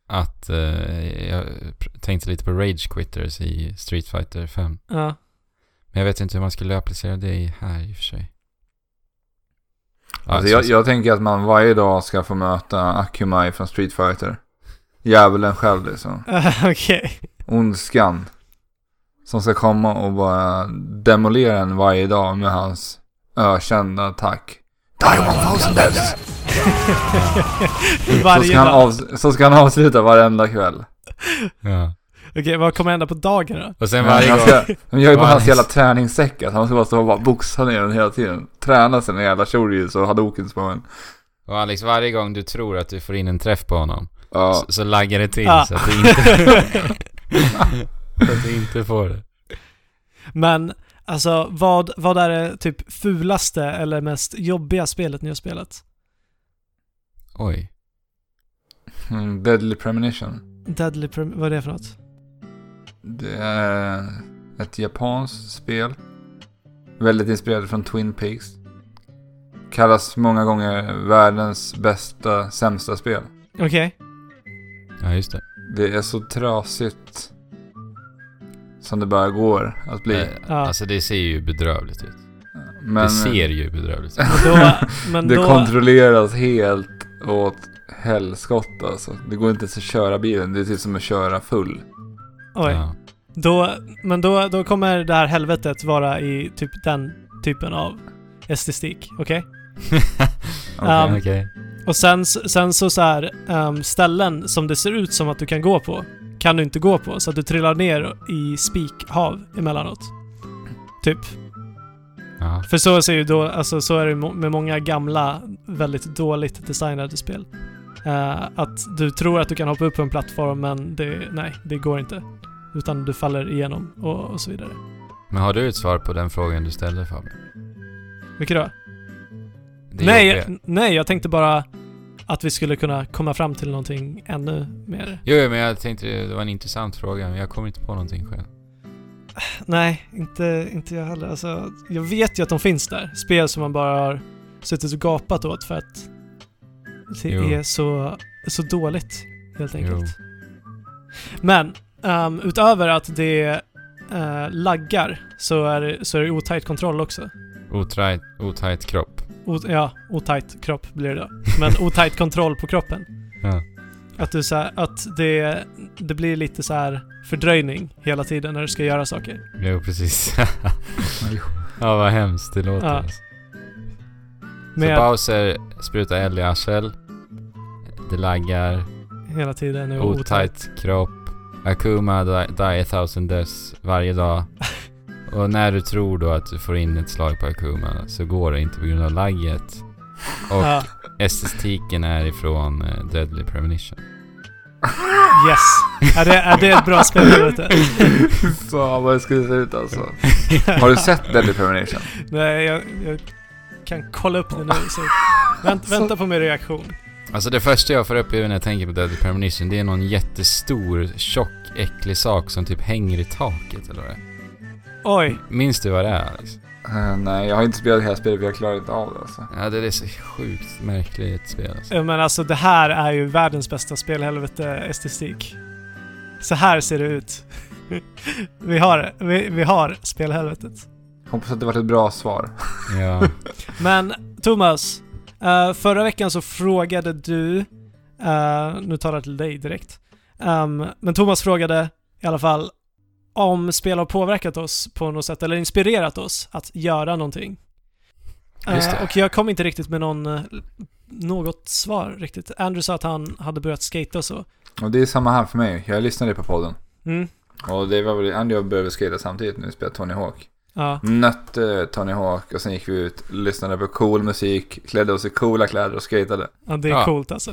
[SPEAKER 1] att eh, jag pr- tänkte lite på Rage Quitters i Street Fighter 5.
[SPEAKER 3] Ja. *laughs*
[SPEAKER 1] Men jag vet inte hur man skulle applicera det i här i och för sig. Ja,
[SPEAKER 2] Alltså,
[SPEAKER 1] så-
[SPEAKER 2] jag, jag tänker att man varje dag ska få möta Akumai från Street Fighter. Djävulen själv liksom.
[SPEAKER 3] Okej.
[SPEAKER 2] *laughs* Ondskan. Som ska komma och bara demolera en varje dag med hans ökända attack. Die one thousand deaths! Så
[SPEAKER 3] Varje
[SPEAKER 2] ska, han
[SPEAKER 3] dag.
[SPEAKER 2] av, så ska han avsluta varenda kväll.
[SPEAKER 1] ja.
[SPEAKER 3] Okej, vad kommer hända på dagen då?
[SPEAKER 1] Och sen varje
[SPEAKER 2] Han
[SPEAKER 1] gång...
[SPEAKER 2] ska, de gör ju bara
[SPEAKER 1] Varje-
[SPEAKER 2] hans jävla träningssäck. Att han ska bara stå och bara boxa ner den hela tiden. Träna sina jävla shoryus och hadokens på en.
[SPEAKER 1] Och Alex, varje gång du tror att du får in en träff på honom
[SPEAKER 2] Ja.
[SPEAKER 1] så, så laggar det till
[SPEAKER 3] Ah.
[SPEAKER 1] så att du
[SPEAKER 3] *laughs*
[SPEAKER 1] inte... så att du inte får det.
[SPEAKER 3] Men alltså, vad, vad är det typ fulaste eller mest jobbiga spelet ni har spelat?
[SPEAKER 1] Oj.
[SPEAKER 2] Mm, Deadly premonition.
[SPEAKER 3] Deadly Prem- vad är det för något?
[SPEAKER 2] Det är ett japanskt spel. Väldigt inspirerat från Twin Peaks. Kallas många gånger världens bästa, sämsta spel.
[SPEAKER 3] Okej.
[SPEAKER 2] *laughs*
[SPEAKER 1] Ja, just det.
[SPEAKER 2] Det är så trasigt som det bara går att bli.
[SPEAKER 1] Eh,
[SPEAKER 3] Ja.
[SPEAKER 1] Alltså det ser ju bedrövligt ut.
[SPEAKER 2] Men,
[SPEAKER 1] det ser ju bedrövligt ut.
[SPEAKER 3] Men då, men
[SPEAKER 2] det
[SPEAKER 3] då,
[SPEAKER 2] kontrolleras helt åt helskott alltså. Det går inte ens att köra bilen. Det är typ som att köra full.
[SPEAKER 3] oj,
[SPEAKER 1] Ja.
[SPEAKER 3] *laughs* då, men då, då kommer det här helvetet vara i typ den typen av estetik, okej?
[SPEAKER 2] Okej.
[SPEAKER 3] Um,
[SPEAKER 1] Okej.
[SPEAKER 3] Och sen, s- sen så, så här, ehm, ställen som det ser ut som att du kan gå på, kan du inte gå på, så att du trillar ner i spikhav emellanåt. Typ.
[SPEAKER 1] Ja.
[SPEAKER 3] För så ser ju då, alltså så är det mo- med många gamla, väldigt dåligt designade spel. Eh, att du tror att du kan hoppa upp på en plattform men det, nej, det går inte. Utan du faller igenom och, och så vidare.
[SPEAKER 1] Men har du ett svar på den frågan du ställde Fabian?
[SPEAKER 3] Vilket då?
[SPEAKER 1] Det
[SPEAKER 3] Nej,
[SPEAKER 1] jobbiga.
[SPEAKER 3] jag, nej, jag tänkte bara att vi skulle kunna komma fram till någonting ännu mer.
[SPEAKER 1] Jo, jo, men jag tänkte det var en intressant fråga, men jag kommer inte på någonting själv.
[SPEAKER 3] Nej, inte, inte jag heller. Alltså, jag vet ju att de finns där. Spel som man bara har suttit och gapat åt för att det
[SPEAKER 1] Jo.
[SPEAKER 3] är så, så dåligt helt
[SPEAKER 1] Jo.
[SPEAKER 3] enkelt. Men ehm, utöver att det eh, laggar så är, det- så är det otajt kontroll också.
[SPEAKER 1] Otajt, otajt kropp.
[SPEAKER 3] O, ja, otajt kropp blir det då. Men otajt kontroll på kroppen.
[SPEAKER 1] Ja.
[SPEAKER 3] Att, du, så här, att det, det blir lite så här fördröjning hela tiden när du ska göra saker.
[SPEAKER 1] *laughs* Jo, precis. ja, vad hemskt det låter.
[SPEAKER 3] Ja.
[SPEAKER 1] Alltså. Så
[SPEAKER 3] Med
[SPEAKER 1] Bowser sprutar eld i arsel. Det laggar.
[SPEAKER 3] hela tiden är
[SPEAKER 1] Otajt kropp. Akuma die, die a thousand deaths varje
[SPEAKER 3] *laughs*
[SPEAKER 1] dag. Och när du tror då att du får in ett slag på Akuma så går det inte på grund av lagget. Och
[SPEAKER 3] Ja,
[SPEAKER 1] estetiken är ifrån eh, Deadly
[SPEAKER 3] *laughs*
[SPEAKER 1] Premonition.
[SPEAKER 3] yes. Är det, är det ett bra spel? Vet du?
[SPEAKER 2] Fy *laughs* Fan vad det skulle se ut alltså. Har du sett Deadly Premonition?
[SPEAKER 3] Nej, jag, jag kan kolla upp det nu. Så vänt, vänta på min reaktion.
[SPEAKER 1] Alltså det första jag får upp i när jag tänker på Deadly Premonition det är någon jättestor, tjock, äcklig sak som typ hänger i taket eller vad det är.
[SPEAKER 3] Oj,
[SPEAKER 1] Minns du vad det är alltså? Alex?
[SPEAKER 2] Eh, nej, jag har inte spelat hela spelet för jag klarar inte av det alltså.
[SPEAKER 1] Ja, det är så sjukt märkligt spel alltså.
[SPEAKER 3] men alltså det här är ju världens bästa spelhelvete estetik. Så här ser det ut. *laughs* Vi har, vi, vi har spelhelvetet.
[SPEAKER 2] Hoppas att det varit ett bra svar.
[SPEAKER 1] Ja.
[SPEAKER 3] Men Thomas, eh, förra veckan så frågade du, eh, nu talar jag till dig direkt, Ehm, men Thomas frågade i alla fall om spel har påverkat oss på något sätt eller inspirerat oss att göra någonting. Eh,
[SPEAKER 1] Just det.
[SPEAKER 3] och jag kom inte riktigt med någon, eh, något svar riktigt. Andrew sa att han hade börjat skata och så.
[SPEAKER 2] Och det är samma här för mig. Jag lyssnade på podden.
[SPEAKER 3] Mm,
[SPEAKER 2] Och det var väl, Andy och jag började skata samtidigt när vi spelade Tony Hawk.
[SPEAKER 3] ja.
[SPEAKER 2] Nötte Tony Hawk och sen gick vi ut, lyssnade på cool musik, klädde oss i coola kläder och skatade.
[SPEAKER 3] Ja, det är
[SPEAKER 1] Ja.
[SPEAKER 3] coolt alltså.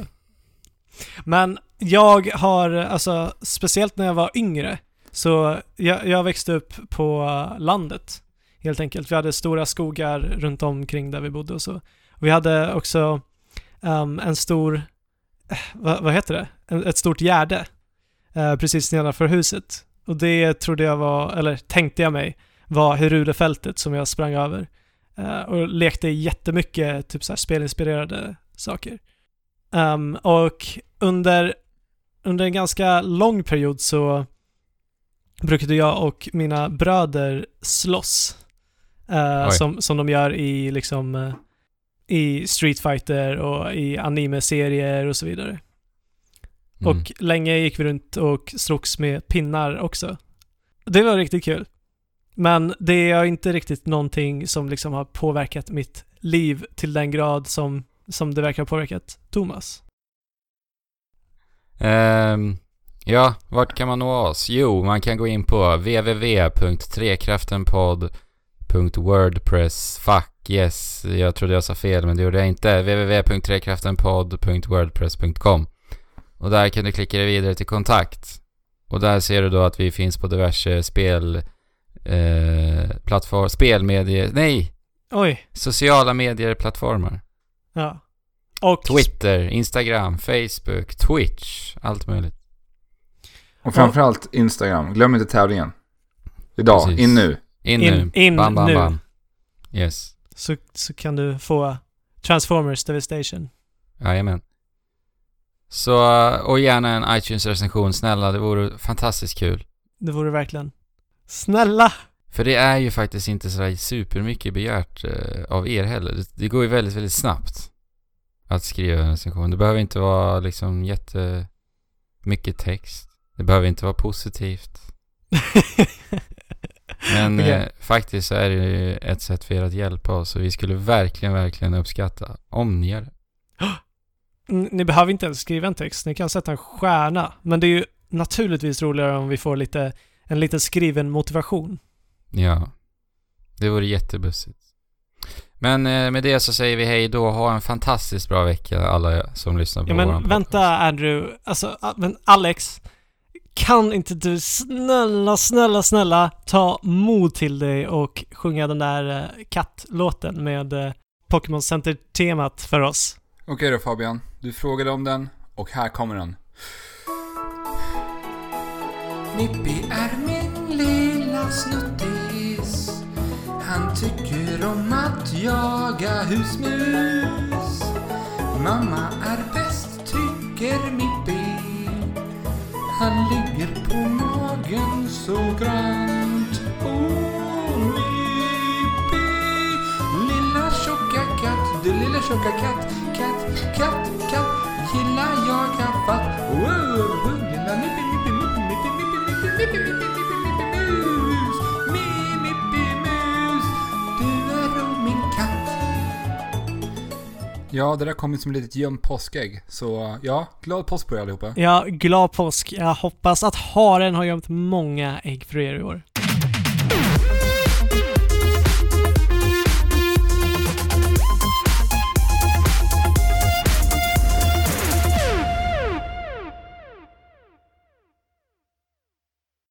[SPEAKER 3] Men jag har, alltså speciellt när jag var yngre, så jag, jag växte upp på landet helt enkelt. Vi hade stora skogar runt omkring där vi bodde och så. Vi hade också ehm, en stor, eh, vad, vad heter det? En, ett stort gärde eh, precis nedanför huset. Och det trodde jag var, eller tänkte jag mig, var Herulefältet som jag sprang över. Eh, och lekte jättemycket typ så här spelinspirerade saker. Ehm, och under, under en ganska lång period så brukade jag och mina bröder slåss. Eh,
[SPEAKER 1] Oj.
[SPEAKER 3] som, som de gör i liksom eh, i Street Fighter och i anime-serier och så vidare.
[SPEAKER 1] Mm.
[SPEAKER 3] *laughs* Och länge gick vi runt och slogs med pinnar också. Det var riktigt kul. Men det är inte riktigt någonting som liksom har påverkat mitt liv till den grad som, som det verkar ha påverkat Thomas.
[SPEAKER 1] Ehm, ja, vart kan man nå oss? Jo, man kan gå in på www.trekraftenpodd.wordpress Fuck yes, jag trodde jag sa fel men det gjorde jag inte. www.trekraftenpodd.wordpress.com Och där kan du klicka dig vidare till kontakt. Och där ser du då att vi finns på diverse spel... Eh, plattform, spelmedier... Nej!
[SPEAKER 3] Oj,
[SPEAKER 1] Sociala medier-plattformar.
[SPEAKER 3] ja. Och,
[SPEAKER 1] Twitter, Instagram, Facebook, Twitch, allt möjligt.
[SPEAKER 5] Och framförallt Instagram. Glöm inte tävlingen. Idag,
[SPEAKER 1] Precis.
[SPEAKER 5] in nu.
[SPEAKER 1] In,
[SPEAKER 3] In-
[SPEAKER 1] nu.
[SPEAKER 3] in
[SPEAKER 1] bam, bam,
[SPEAKER 3] nu.
[SPEAKER 1] bam. Yes.
[SPEAKER 3] så, så kan du få Transformers Devastation.
[SPEAKER 1] Jajamän. Så, eh, och gärna en iTunes-recension, snälla. Det vore fantastiskt kul.
[SPEAKER 3] Det vore verkligen... Snälla! *laughs*
[SPEAKER 1] För det är ju faktiskt inte sådär supermycket begärt eh, av er heller. Det, det går ju väldigt, väldigt snabbt att skriva en recension. Det behöver inte vara liksom jätte mycket text. Det behöver inte vara positivt.
[SPEAKER 3] *laughs*
[SPEAKER 1] Men
[SPEAKER 3] Okej.
[SPEAKER 1] eh, faktiskt så är det ju ett sätt för er att hjälpa oss och vi skulle verkligen, verkligen uppskatta om ni gör det.
[SPEAKER 3] N- Ni behöver inte ens skriva en text, ni kan sätta en stjärna. Men det är ju naturligtvis roligare om vi får lite, en liten skriven motivation.
[SPEAKER 1] Ja. Det vore jättebussigt. Men eh, med det så säger vi hej då. Ha en fantastiskt bra vecka alla som lyssnar på
[SPEAKER 3] Ja men
[SPEAKER 1] våran
[SPEAKER 3] vänta Andrew, alltså a- men Alex, kan inte du snälla, snälla, snälla ta mod till dig och sjunga den där eh, kattlåten med eh, Pokémon Center-temat för oss?
[SPEAKER 5] Okej då Fabian. Du frågade om den och här kommer den.
[SPEAKER 2] Nippi är min lilla snuttis Han tycker om att jaga husmus Mamma är bäst tycker Mippi Han ligger på magen så grant Åh Mippi Lilla tjocka katt, du lilla tjocka katt Katt, katt, katt Gillar jag kaffat Wow, gillar Mippi, Mippi, Mippi Mippi, Mippi, Mippi, Mippi, Mippi, Mippi, Mippi Mus Mi, Mippi Mus Du är min katt
[SPEAKER 5] Ja, det där kom ju som ett litet gömt påskägg. Så ja, glad påsk på er allihopa.
[SPEAKER 3] Ja, glad påsk. Jag hoppas att haren har gömt många ägg för er i år.